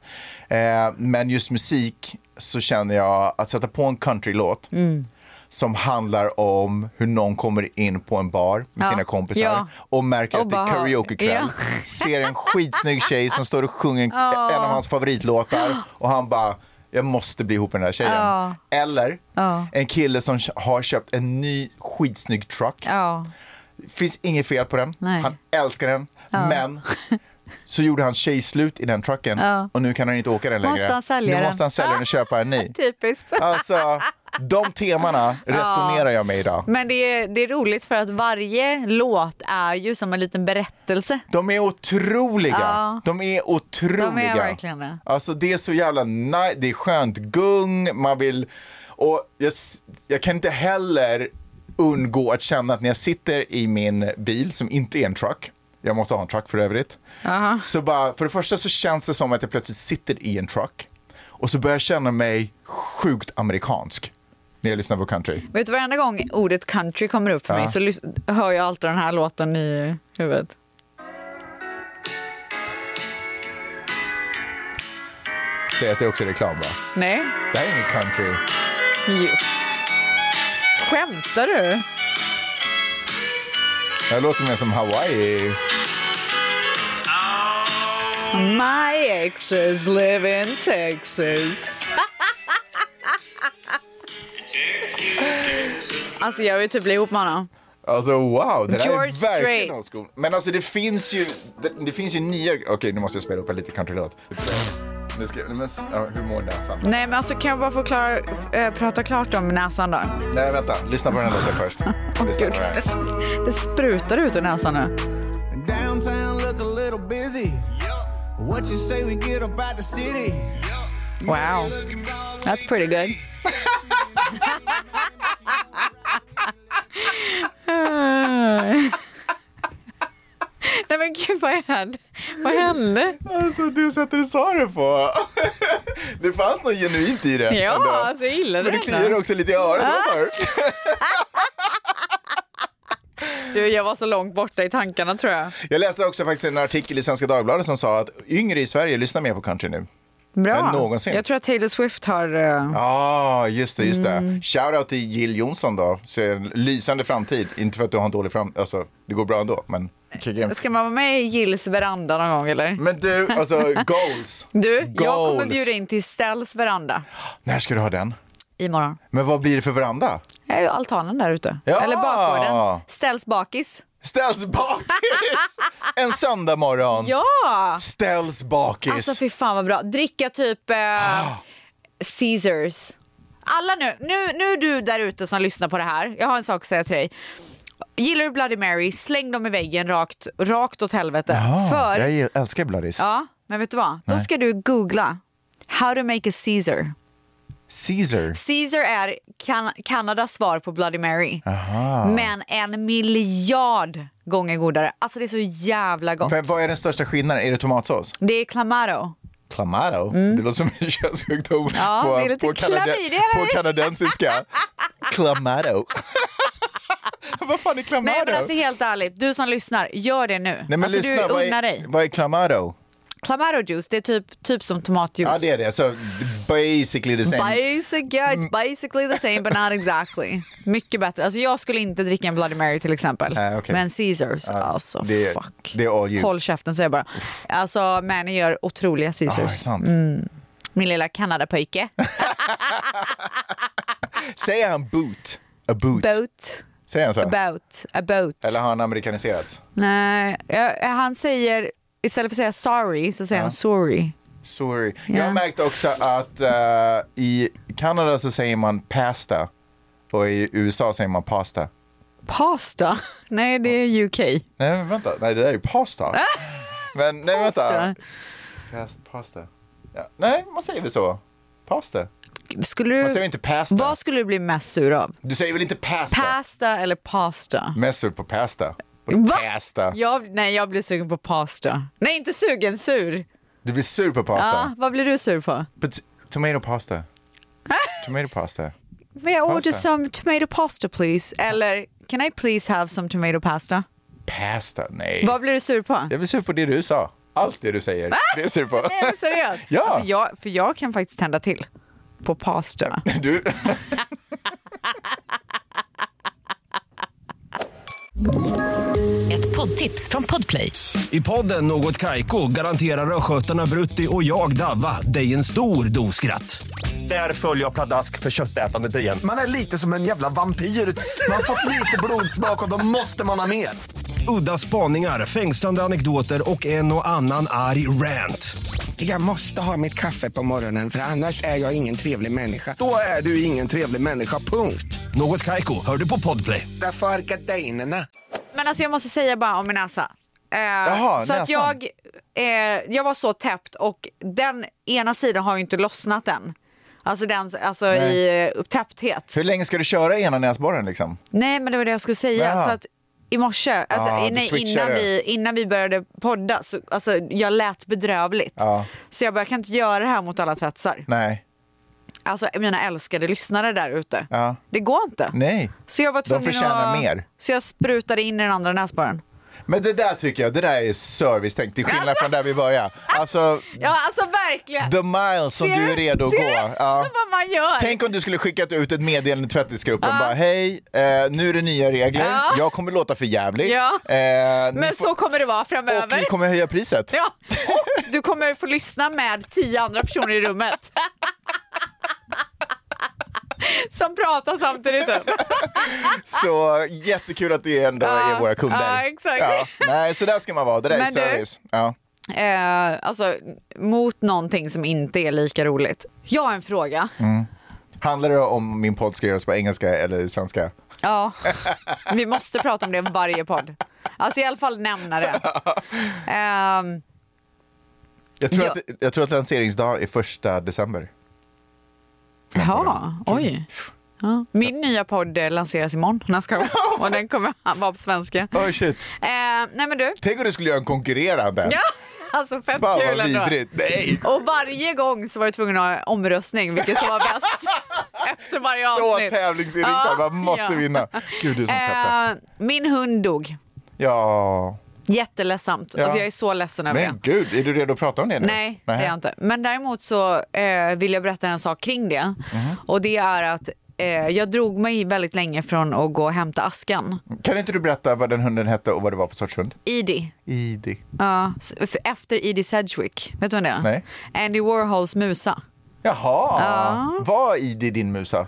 [SPEAKER 5] Eh, men just musik så känner jag att sätta på en countrylåt
[SPEAKER 4] Mm.
[SPEAKER 5] som handlar om hur någon kommer in på en bar med
[SPEAKER 4] Ja.
[SPEAKER 5] sina kompisar
[SPEAKER 4] Ja.
[SPEAKER 5] och märker
[SPEAKER 4] Och
[SPEAKER 5] att det
[SPEAKER 4] bara
[SPEAKER 5] är
[SPEAKER 4] ha-
[SPEAKER 5] karaokekväll.
[SPEAKER 4] Ja.
[SPEAKER 5] Ser en skitsnygg tjej som står och sjunger en- en av hans favoritlåtar och han bara jag måste bli ihop med den här tjejen.
[SPEAKER 4] Ja.
[SPEAKER 5] Eller
[SPEAKER 4] Ja.
[SPEAKER 5] en kille som har köpt en ny skitsnygg truck
[SPEAKER 4] Ja.
[SPEAKER 5] finns inget fel på den.
[SPEAKER 4] Nej.
[SPEAKER 5] Han älskar den. Men så gjorde han tjejslut i den trucken
[SPEAKER 4] Ja.
[SPEAKER 5] och nu kan han inte åka den längre.
[SPEAKER 4] Måste han sälja
[SPEAKER 5] nu
[SPEAKER 4] den?
[SPEAKER 5] måste han sälja den och köpa en ny.
[SPEAKER 4] Typiskt.
[SPEAKER 5] Alltså, de temana resonerar jag med idag.
[SPEAKER 4] Men det är, det är roligt för att varje låt är ju som en liten berättelse.
[SPEAKER 5] De är otroliga.
[SPEAKER 4] Ja.
[SPEAKER 5] De är otroliga.
[SPEAKER 4] De är verkligen det.
[SPEAKER 5] Alltså det är så jävla nice, det är skönt gung, man vill... Och jag, s- jag kan inte heller undgå att känna att när jag sitter i min bil, som inte är en truck, jag måste ha en truck för övrigt. Så bara, för det första så känns det som att jag plötsligt sitter i en truck och så börjar jag känna mig sjukt amerikansk när jag lyssnar på country.
[SPEAKER 4] Vet du, varenda gång ordet country kommer upp för
[SPEAKER 5] Ja.
[SPEAKER 4] mig så lys- hör jag alltid den här låten i huvudet.
[SPEAKER 5] Säg att det är också är reklam va?
[SPEAKER 4] Nej?
[SPEAKER 5] Det här är ingen country.
[SPEAKER 4] Jo. Skämtar du?
[SPEAKER 5] Det här låter mer som Hawaii.
[SPEAKER 4] My exes live in Texas. alltså jag vill typ bli ihop med honom.
[SPEAKER 5] Alltså wow, det där
[SPEAKER 4] George
[SPEAKER 5] är verkligen
[SPEAKER 4] Strait.
[SPEAKER 5] old school. Men alltså det finns ju, det, det finns ju nya, okej nu måste jag spela upp en liten countrylåt. Nu ska, men, s- ja, hur mår näsan?
[SPEAKER 4] Nej men alltså kan jag bara få klara, eh, prata klart om näsan då?
[SPEAKER 5] Nej vänta, lyssna på den här låten först. Lyssna
[SPEAKER 4] Gud,
[SPEAKER 5] på den
[SPEAKER 4] det,
[SPEAKER 5] här.
[SPEAKER 4] det sprutar ut ur näsan nu.
[SPEAKER 6] Downtown look a little busy. What you say we get about the city?
[SPEAKER 4] Wow. That's pretty good. Nej men gud vad hände? Vad hände?
[SPEAKER 5] Alltså det sättet du sa det på. det fanns något genuint i det.
[SPEAKER 4] Ja,
[SPEAKER 5] ändå.
[SPEAKER 4] alltså jag Ah. gillade
[SPEAKER 5] Men det
[SPEAKER 4] det.
[SPEAKER 5] kliade
[SPEAKER 4] ändå.
[SPEAKER 5] också lite i örat. vad sa du?
[SPEAKER 4] Du, jag var så långt borta i tankarna tror jag.
[SPEAKER 5] Jag läste också faktiskt en artikel i Svenska Dagbladet som sa att yngre i Sverige lyssnar mer på country nu.
[SPEAKER 4] Bra.
[SPEAKER 5] Men någonsin.
[SPEAKER 4] Jag tror att Taylor Swift har... eh,
[SPEAKER 5] Ja, ah, just det, just det.
[SPEAKER 4] Mm.
[SPEAKER 5] Shoutout till Jill Johnson då. Så en lysande framtid. Inte för att du har en dålig framtid, alltså det går bra ändå, men kicka
[SPEAKER 4] Ska man vara med i Gills veranda någon gång eller?
[SPEAKER 5] Men du, alltså goals.
[SPEAKER 4] Du, jag kommer
[SPEAKER 5] Goals.
[SPEAKER 4] bjuda in till Stells veranda
[SPEAKER 5] När ska du ha den?
[SPEAKER 4] imorgon.
[SPEAKER 5] Men vad blir det för veranda?
[SPEAKER 4] Jag är ju altanen där ute.
[SPEAKER 5] Ja.
[SPEAKER 4] Eller bakgården. Stells bakis.
[SPEAKER 5] Ställs bakis! en söndag morgon.
[SPEAKER 4] Ja!
[SPEAKER 5] Ställs bakis.
[SPEAKER 4] Alltså fy fan vad bra. Dricka typ eh, Caesars. Alla nu, nu, nu du där ute som lyssnar på det här, jag har en sak att säga till dig. Gillar du Bloody Mary, släng dem i väggen rakt, rakt åt helvete.
[SPEAKER 5] Ja,
[SPEAKER 4] För,
[SPEAKER 5] Jag Ah, älskar Bloodys.
[SPEAKER 4] ja, Men vet du vad? Då ska du googla How to make a Caesar.
[SPEAKER 5] Caesar.
[SPEAKER 4] Caesar är kan Kanadas svar på Bloody Mary.
[SPEAKER 5] Aha.
[SPEAKER 4] Men en miljard gånger godare. Alltså det är så jävla gott.
[SPEAKER 5] Men vad är den största skillnaden? Är det tomatsås?
[SPEAKER 4] Det är clamato.
[SPEAKER 5] Clamato? Det låter som en könssjukdom
[SPEAKER 4] Mm. Ja, det är
[SPEAKER 5] på,
[SPEAKER 4] lite
[SPEAKER 5] på,
[SPEAKER 4] klamydia,
[SPEAKER 5] på
[SPEAKER 4] eller?
[SPEAKER 5] kanadensiska. Clamato. vad fan är clamato?
[SPEAKER 4] Nej men alltså helt ärligt, du som lyssnar, gör det nu.
[SPEAKER 5] Nej, men
[SPEAKER 4] alltså
[SPEAKER 5] lyssna,
[SPEAKER 4] du
[SPEAKER 5] vad
[SPEAKER 4] unnar
[SPEAKER 5] är,
[SPEAKER 4] dig.
[SPEAKER 5] vad är clamato?
[SPEAKER 4] Clamato juice, det är typ, typ som tomatjuice.
[SPEAKER 5] Ja, det är det. Så basically the same.
[SPEAKER 4] Basic, yeah,
[SPEAKER 5] Mm.
[SPEAKER 4] it's basically the same but not exactly. Mycket bättre. Alltså jag skulle inte dricka en Bloody Mary till exempel.
[SPEAKER 5] Nej, okej.
[SPEAKER 4] Men Caesars, alltså
[SPEAKER 5] det,
[SPEAKER 4] fuck.
[SPEAKER 5] det är all you.
[SPEAKER 4] Håll käften säger jag bara. Alltså Mani gör otroliga
[SPEAKER 5] ah,
[SPEAKER 4] Caesars.
[SPEAKER 5] sant.
[SPEAKER 4] Min lilla Kanadapöjke.
[SPEAKER 5] Säger han boot? A boot?
[SPEAKER 4] Boat,
[SPEAKER 5] Säger han så?
[SPEAKER 4] about, about.
[SPEAKER 5] Eller har han amerikaniserats?
[SPEAKER 4] Nej, eh, han säger, istället för att säga sorry så säger han sorry.
[SPEAKER 5] Sorry.
[SPEAKER 4] Ja.
[SPEAKER 5] Jag märkte också att eh, i Kanada så säger man pasta och i USA säger man pasta.
[SPEAKER 4] Pasta? Nej, det är UK.
[SPEAKER 5] Nej, men vänta. Nej, det där är ju pasta. Men nej,
[SPEAKER 4] Pasta.
[SPEAKER 5] vänta. Pas- Pasta. Ja. Nej, man säger väl så? Pasta.
[SPEAKER 4] Skulle du,
[SPEAKER 5] Man säger väl inte pasta?
[SPEAKER 4] Vad skulle du bli mest sur av?
[SPEAKER 5] Du säger väl inte pasta?
[SPEAKER 4] Pasta eller pasta?
[SPEAKER 5] Mest sur på pasta. På pasta.
[SPEAKER 4] Jag, nej, jag blir sugen på pasta. Nej, inte sugen, sur.
[SPEAKER 5] Du blir sur på pasta.
[SPEAKER 4] Ja, vad blir du sur på?
[SPEAKER 5] But tomato pasta. tomato pasta.
[SPEAKER 4] May I order
[SPEAKER 5] Pasta.
[SPEAKER 4] some tomato pasta please? Eller can I please have some tomato pasta?
[SPEAKER 5] Pasta, nej.
[SPEAKER 4] Vad blir du sur på?
[SPEAKER 5] Jag blir sur på det du sa. Allt det du säger. Det är jag sur på.
[SPEAKER 4] Nej, men seriöst.
[SPEAKER 5] Ja.
[SPEAKER 4] Alltså, jag, för jag kan faktiskt tända till på pasta.
[SPEAKER 5] Du...
[SPEAKER 7] Ett poddtips från Podplay.
[SPEAKER 8] I podden Något Kaiko garanterar östgötarna Brutti och jag, Davva, dig en stor dos skratt. Där följer jag pladask för köttätandet igen.
[SPEAKER 9] Man är lite som en jävla vampyr. Man har fått lite blodsmak och då måste man ha mer.
[SPEAKER 8] Udda spaningar, fängslande anekdoter och en och annan arg rant.
[SPEAKER 9] Jag måste ha mitt kaffe på morgonen för annars är jag ingen trevlig människa. Då är du ingen trevlig människa, punkt.
[SPEAKER 8] Något Kaiko, hör du på podplay.
[SPEAKER 9] Därför är gardinerna.
[SPEAKER 4] Men alltså jag måste säga bara om min näsa. Eh,
[SPEAKER 9] Jaha,
[SPEAKER 4] så
[SPEAKER 9] näsan.
[SPEAKER 4] att jag, eh, jag var så täppt och den ena sidan har ju inte lossnat än. Alltså, den, alltså
[SPEAKER 5] Nej.
[SPEAKER 4] i eh, täppthet.
[SPEAKER 5] Hur länge ska du köra i ena näsborren liksom?
[SPEAKER 4] Nej, men det var det jag skulle säga.
[SPEAKER 5] Jaha.
[SPEAKER 4] Så att i morse, alltså,
[SPEAKER 5] Ah, du
[SPEAKER 4] nej, innan,
[SPEAKER 5] switchade.
[SPEAKER 4] vi, innan vi började podda, så, alltså, jag lät bedrövligt.
[SPEAKER 5] Ja.
[SPEAKER 4] Så jag bara, jag kan inte göra det här mot alla tvättsar.
[SPEAKER 5] Nej.
[SPEAKER 4] Alltså mina älskade lyssnare där ute.
[SPEAKER 5] Ja.
[SPEAKER 4] Det går inte.
[SPEAKER 5] Nej.
[SPEAKER 4] Så jag var
[SPEAKER 5] De
[SPEAKER 4] tvungen
[SPEAKER 5] förtjänar
[SPEAKER 4] att...
[SPEAKER 5] mer.
[SPEAKER 4] Så jag sprutade in i den andra näsborren.
[SPEAKER 5] Men det där tycker jag, det där är servicetänk till skillnad från där vi började. Alltså,
[SPEAKER 4] Ja, alltså verkligen.
[SPEAKER 5] the mile som
[SPEAKER 4] Ser
[SPEAKER 5] du är redo att
[SPEAKER 4] Ser
[SPEAKER 5] gå.
[SPEAKER 4] du?
[SPEAKER 5] Ja.
[SPEAKER 4] Vad man gör.
[SPEAKER 5] Tänk om du skulle skickat ut ett meddelande till tvättisgruppen bara hej, eh, nu är det nya regler,
[SPEAKER 4] Ja.
[SPEAKER 5] jag kommer låta för jävlig.
[SPEAKER 4] Ja.
[SPEAKER 5] Eh, ni
[SPEAKER 4] Men
[SPEAKER 5] får-
[SPEAKER 4] så kommer det vara
[SPEAKER 5] och
[SPEAKER 4] framöver.
[SPEAKER 5] vi kommer höja priset.
[SPEAKER 4] Ja, och du kommer få lyssna med tio andra personer i rummet. Som pratar samtidigt. typ.
[SPEAKER 5] Så jättekul att det ändå
[SPEAKER 4] Ja.
[SPEAKER 5] är våra kunder.
[SPEAKER 4] Ja, exakt.
[SPEAKER 5] Nej, så där ska man vara, det där är
[SPEAKER 4] Men du-
[SPEAKER 5] service. Ja.
[SPEAKER 4] Eh, alltså, mot någonting som inte är lika roligt. Jag har en fråga.
[SPEAKER 5] Handlar det om min podd ska göras på engelska eller svenska?
[SPEAKER 4] Ja, vi måste prata om det i varje podd. Alltså i alla fall nämna det. Ehm,
[SPEAKER 5] Jag tror,
[SPEAKER 4] Ja.
[SPEAKER 5] att, jag tror att lanseringsdag är första december.
[SPEAKER 4] Ja, oj. Ja. Min nya podd eh, lanseras imorgon. Den ska och den kommer vara på svenska.
[SPEAKER 5] Oh, shit.
[SPEAKER 4] Eh, nej men du,
[SPEAKER 5] Tänk om du skulle göra en konkurrerande.
[SPEAKER 4] ja, alltså fett
[SPEAKER 5] Fan
[SPEAKER 4] kul
[SPEAKER 5] vad
[SPEAKER 4] ändå.
[SPEAKER 5] vidrigt. Nej.
[SPEAKER 4] Och varje gång så var jag tvungen att ha omröstning, vilket som var bäst. Efter varje
[SPEAKER 5] Så
[SPEAKER 4] avsnitt.
[SPEAKER 5] tävlingsinriktad,
[SPEAKER 4] Ja,
[SPEAKER 5] man måste
[SPEAKER 4] ja.
[SPEAKER 5] vinna. Gud, du som peppar.
[SPEAKER 4] Eh, min hund dog.
[SPEAKER 5] Ja.
[SPEAKER 4] Jätteledsamt.
[SPEAKER 5] Ja.
[SPEAKER 4] Alltså jag är så ledsen över det.
[SPEAKER 5] Men gud, är du redo att prata om det nu?
[SPEAKER 4] Nej, det är jag
[SPEAKER 5] Nähä.
[SPEAKER 4] inte. Men däremot så eh, vill jag berätta en sak kring det.
[SPEAKER 5] Mhm.
[SPEAKER 4] Och det är att eh, jag drog mig väldigt länge från att gå och hämta askan.
[SPEAKER 5] Kan inte du berätta vad den hunden hette och vad det var för sorts hund?
[SPEAKER 4] Idi.
[SPEAKER 5] Idi.
[SPEAKER 4] Ja, s- f- efter Edie Sedgwick. Vet du vem det är?
[SPEAKER 5] Nej.
[SPEAKER 4] Andy Warhols musa.
[SPEAKER 5] Jaha,
[SPEAKER 4] Ja.
[SPEAKER 5] var Idi din musa?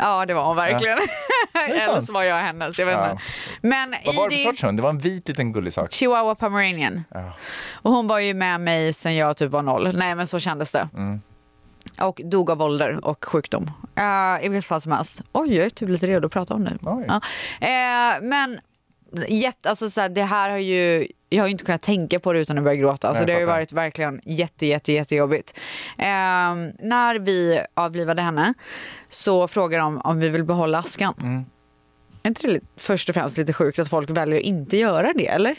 [SPEAKER 4] Ja, det var hon verkligen. Eller
[SPEAKER 5] sant.
[SPEAKER 4] så var jag hennes, jag vet
[SPEAKER 5] Ja.
[SPEAKER 4] inte. Men
[SPEAKER 5] Vad var det för
[SPEAKER 4] Edie-
[SPEAKER 5] sorts hund? Det var en vit liten gullig sak.
[SPEAKER 4] Chihuahua pomeranian. Och hon var ju med mig sen jag typ var noll. Nej men så kändes det. Och dog av ålder och sjukdom. Eh, I vilket fall som helst. Oj, jag är typ lite redo att prata om nu.
[SPEAKER 5] Oj.
[SPEAKER 4] Ja. Eh, men jätte, alltså så här, det här har ju jag har ju inte kunnat tänka på det utan att börja gråta. Så
[SPEAKER 10] Nej,
[SPEAKER 4] det har ju
[SPEAKER 10] fattar.
[SPEAKER 4] varit verkligen jätte, jätte, jättejobbigt. Ehm, när vi avlivade henne så frågade de om vi vill behålla askan. Är inte det lite- först och främst lite sjukt att folk väljer att inte göra det, eller?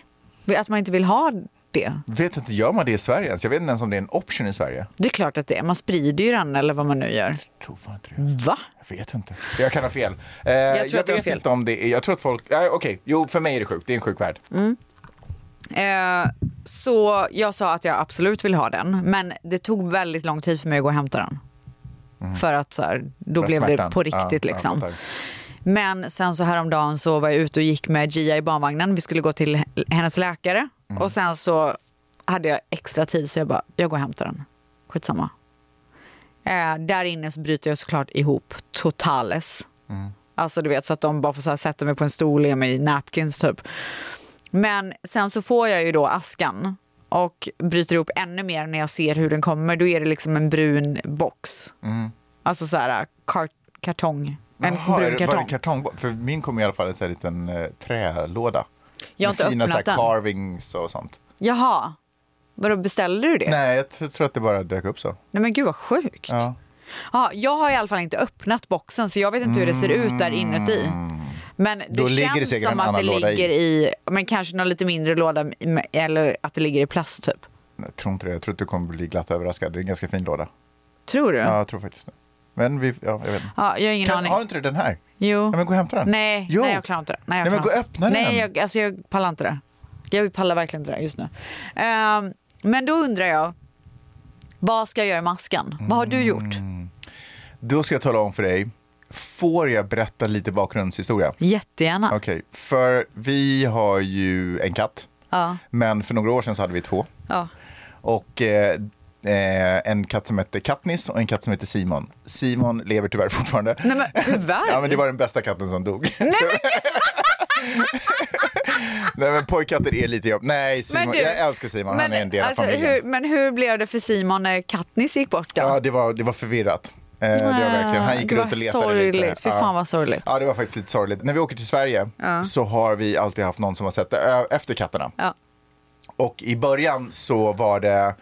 [SPEAKER 4] Att man inte vill ha det.
[SPEAKER 5] Vet inte, gör man det i Sverige ens? Jag vet inte ens om det är en option i Sverige.
[SPEAKER 4] Det är klart att det är. Man sprider ju den eller vad man nu gör. Jag
[SPEAKER 5] tror fan inte
[SPEAKER 4] det. Va?
[SPEAKER 5] Jag vet inte. Jag kan ha fel. Eh, jag
[SPEAKER 4] tror att du har
[SPEAKER 5] vet
[SPEAKER 4] fel.
[SPEAKER 5] inte om det är, jag tror att folk, ja, okej, jo för mig är det sjukt, det är en sjuk värld.
[SPEAKER 4] Mm. Eh, så jag sa att jag absolut vill ha den. Men det tog väldigt lång tid för mig att gå och hämta den. För att så här, då
[SPEAKER 10] Mm. För
[SPEAKER 4] blev
[SPEAKER 10] smärtan.
[SPEAKER 4] det på
[SPEAKER 10] Ja,
[SPEAKER 4] riktigt
[SPEAKER 10] jag
[SPEAKER 4] liksom.
[SPEAKER 10] fattar.
[SPEAKER 4] Men sen så häromdagen så var jag ute och gick med Gia i barnvagnen. Vi skulle gå till h- hennes läkare.
[SPEAKER 10] Mm.
[SPEAKER 4] Och sen så hade jag extra tid så jag bara, jag går och hämtar den. Skitsamma. Eh, där inne så bryter jag såklart ihop totales.
[SPEAKER 10] Mm.
[SPEAKER 4] Alltså du vet så att de bara får så här, sätta mig på en stol och ge mig napkins typ. Men sen så får jag ju då askan och bryter ihop ännu mer när jag ser hur den kommer. Då är det liksom en brun box. Alltså så här kart- kartong. En
[SPEAKER 5] Mm. Jaha,
[SPEAKER 4] brun
[SPEAKER 5] är det- var det
[SPEAKER 4] kartong.
[SPEAKER 5] en kartong? För min kom i alla fall en sån här liten eh, trälåda.
[SPEAKER 4] Jag har
[SPEAKER 5] Med
[SPEAKER 4] inte
[SPEAKER 5] fina så här,
[SPEAKER 4] öppnat den.
[SPEAKER 5] carvings och sånt.
[SPEAKER 4] Jaha. Vadå, beställde du det?
[SPEAKER 5] Nej, jag tr- tror att det bara dök upp så.
[SPEAKER 4] Nej men gud vad sjukt.
[SPEAKER 5] Ja.
[SPEAKER 4] Ja, jag har i alla fall inte öppnat boxen så jag vet inte hur det ser ut där inuti. Men det
[SPEAKER 5] Mm. Då ligger det
[SPEAKER 4] känns
[SPEAKER 5] säkert
[SPEAKER 4] som
[SPEAKER 5] en
[SPEAKER 4] att det
[SPEAKER 5] annan låda i.
[SPEAKER 4] ligger i. men kanske någon lite mindre låda m- eller att det ligger i plast typ.
[SPEAKER 5] Jag tror inte det, jag tror att du kommer bli glatt överraskad. Det är en ganska fin låda.
[SPEAKER 4] Tror du?
[SPEAKER 5] Ja, jag tror faktiskt det. Men vi, ja, jag vet inte.
[SPEAKER 4] Ja, jag har ingen
[SPEAKER 5] kan,
[SPEAKER 4] aning.
[SPEAKER 5] Har inte du den här?
[SPEAKER 4] Jo.
[SPEAKER 5] Ja, men gå och hämta den.
[SPEAKER 4] Nej,
[SPEAKER 5] Jo.
[SPEAKER 4] nej jag klarar inte det. Nej, jag
[SPEAKER 5] Nej, men
[SPEAKER 4] klarar
[SPEAKER 5] gå och
[SPEAKER 4] inte.
[SPEAKER 5] öppna den.
[SPEAKER 4] Nej, jag, alltså jag pallar inte det. Jag pallar verkligen inte det just nu. Ehm, men då undrar jag, vad ska jag göra med askan? Vad har du gjort?
[SPEAKER 5] Mm. Då ska jag tala om för dig, får jag berätta lite bakgrundshistoria?
[SPEAKER 4] Jättegärna.
[SPEAKER 5] Okej, för vi har ju en katt,
[SPEAKER 4] Ja.
[SPEAKER 5] men för några år sedan så hade vi två.
[SPEAKER 4] Ja.
[SPEAKER 5] Och eh, eh, en katt som hette Katniss och en katt som hette Simon. Simon lever tyvärr fortfarande.
[SPEAKER 4] Nej men tyvärr.
[SPEAKER 5] Ja, men det var den bästa katten som dog. Nej men, Nej, men pojkkatter är lite jobb. Nej, Simon,
[SPEAKER 4] Men du-
[SPEAKER 5] jag älskar Simon. Han är en del av
[SPEAKER 4] alltså,
[SPEAKER 5] familjen.
[SPEAKER 4] hur, men hur blev det för Simon när Katniss gick bort då?
[SPEAKER 5] Ja, det var, det var förvirrat. Eh, det var verkligen. Han gick
[SPEAKER 4] Det var
[SPEAKER 5] runt och letade
[SPEAKER 4] sorgligt.
[SPEAKER 5] lite.
[SPEAKER 4] Fy fan vad sorgligt.
[SPEAKER 5] Ja, det var faktiskt lite sorgligt. När vi åker till Sverige
[SPEAKER 4] Ja.
[SPEAKER 5] så har vi alltid haft någon som har sett ö- efter katterna.
[SPEAKER 4] Ja.
[SPEAKER 5] Och i början så var det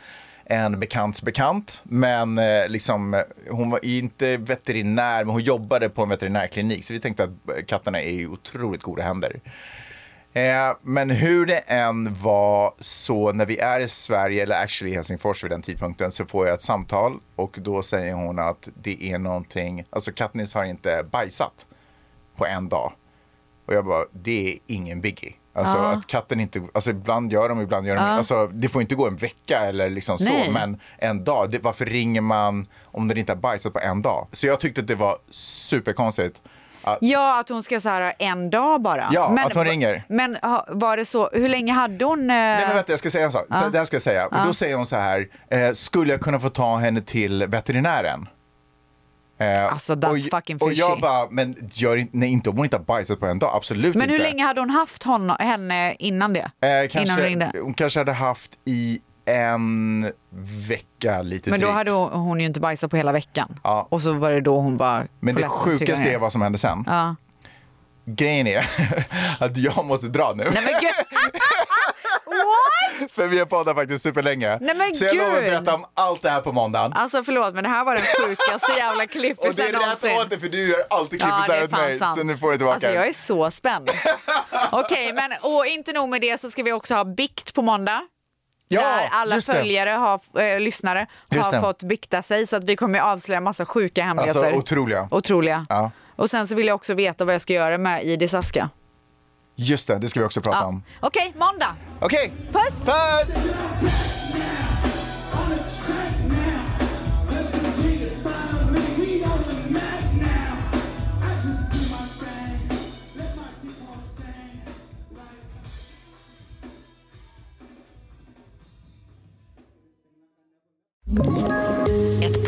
[SPEAKER 5] en bekants bekant, men eh, liksom, eh, hon var inte veterinär, men hon jobbade på en veterinärklinik. Så vi tänkte att eh, katterna är i otroligt goda händer. Eh, men hur det än var så när vi är i Sverige, eller actually i Helsingfors vid den tidpunkten, så får jag ett samtal och då säger hon att det är någonting, alltså Katniss har inte bajsat på en dag. Och jag bara, det är ingen biggie. Alltså
[SPEAKER 11] Ja.
[SPEAKER 5] att katten inte, alltså ibland gör de, ibland gör de
[SPEAKER 11] Ja.
[SPEAKER 5] alltså det får inte gå en vecka eller liksom
[SPEAKER 11] Nej.
[SPEAKER 5] så, men en dag, det, varför ringer man om den inte har bajsat på en dag? Så jag tyckte att det var superkonstigt. Att,
[SPEAKER 4] Ja, att hon ska så här en dag bara.
[SPEAKER 5] Ja, att hon ringer.
[SPEAKER 4] Men ha- var det så, hur länge hade hon? eh,
[SPEAKER 5] Nej men vänta, jag ska säga en sak. Så,
[SPEAKER 4] Ja.
[SPEAKER 5] det här ska jag säga.
[SPEAKER 4] Ja.
[SPEAKER 5] Då säger hon så här, eh, skulle jag kunna få ta henne till veterinären? Eh,
[SPEAKER 4] Alltså, that's
[SPEAKER 5] och,
[SPEAKER 4] fucking
[SPEAKER 5] Och jag
[SPEAKER 4] fishy.
[SPEAKER 5] bara, men gör inte, nej inte om hon inte har bajsat på en dag, absolut
[SPEAKER 4] men hur
[SPEAKER 5] inte.
[SPEAKER 4] länge hade hon haft hon, henne innan det?
[SPEAKER 5] Eh,
[SPEAKER 4] Innan hon
[SPEAKER 5] kanske,
[SPEAKER 4] ringde?
[SPEAKER 5] hon kanske hade haft i en vecka lite
[SPEAKER 4] Men då
[SPEAKER 5] drygt.
[SPEAKER 4] hade hon, hon ju inte bajsat på hela veckan.
[SPEAKER 5] Ja.
[SPEAKER 4] Och så var det då hon bara...
[SPEAKER 5] Men det
[SPEAKER 4] toaletten trillade
[SPEAKER 5] sjukaste
[SPEAKER 4] ner.
[SPEAKER 5] är vad som hände sen.
[SPEAKER 4] Ja.
[SPEAKER 5] Grejen är att jag måste dra nu.
[SPEAKER 4] Nej men gud! What?
[SPEAKER 5] För vi har poddat faktiskt superlänge.
[SPEAKER 4] Nej, men
[SPEAKER 5] så jag lovar
[SPEAKER 4] gud!
[SPEAKER 5] att berätta om allt det här på måndagen.
[SPEAKER 4] Alltså förlåt men det här var den sjukaste jävla
[SPEAKER 5] Och det
[SPEAKER 4] klippisen
[SPEAKER 5] är rätt åt dig för du gör alltid klippisar åt mig. Så nu får du tillbaka
[SPEAKER 4] Alltså
[SPEAKER 5] den.
[SPEAKER 4] jag är så spänd. Okej, men och inte nog med det så ska vi också ha bikt på måndag.
[SPEAKER 5] Ja,
[SPEAKER 4] där alla
[SPEAKER 5] just det.
[SPEAKER 4] följare, har, eh, lyssnare,
[SPEAKER 5] Just
[SPEAKER 4] har
[SPEAKER 5] det.
[SPEAKER 4] fått bikta sig så att vi kommer ju avslöja massa sjuka hemligheter.
[SPEAKER 5] Alltså otroliga.
[SPEAKER 4] Otroliga.
[SPEAKER 5] Ja.
[SPEAKER 4] Och sen så vill jag också veta vad jag ska göra med Idis aska.
[SPEAKER 5] Just det, det ska vi också prata om.
[SPEAKER 4] Okej, måndag!
[SPEAKER 5] Okej,
[SPEAKER 4] Puss!
[SPEAKER 5] Puss!
[SPEAKER 7] Ett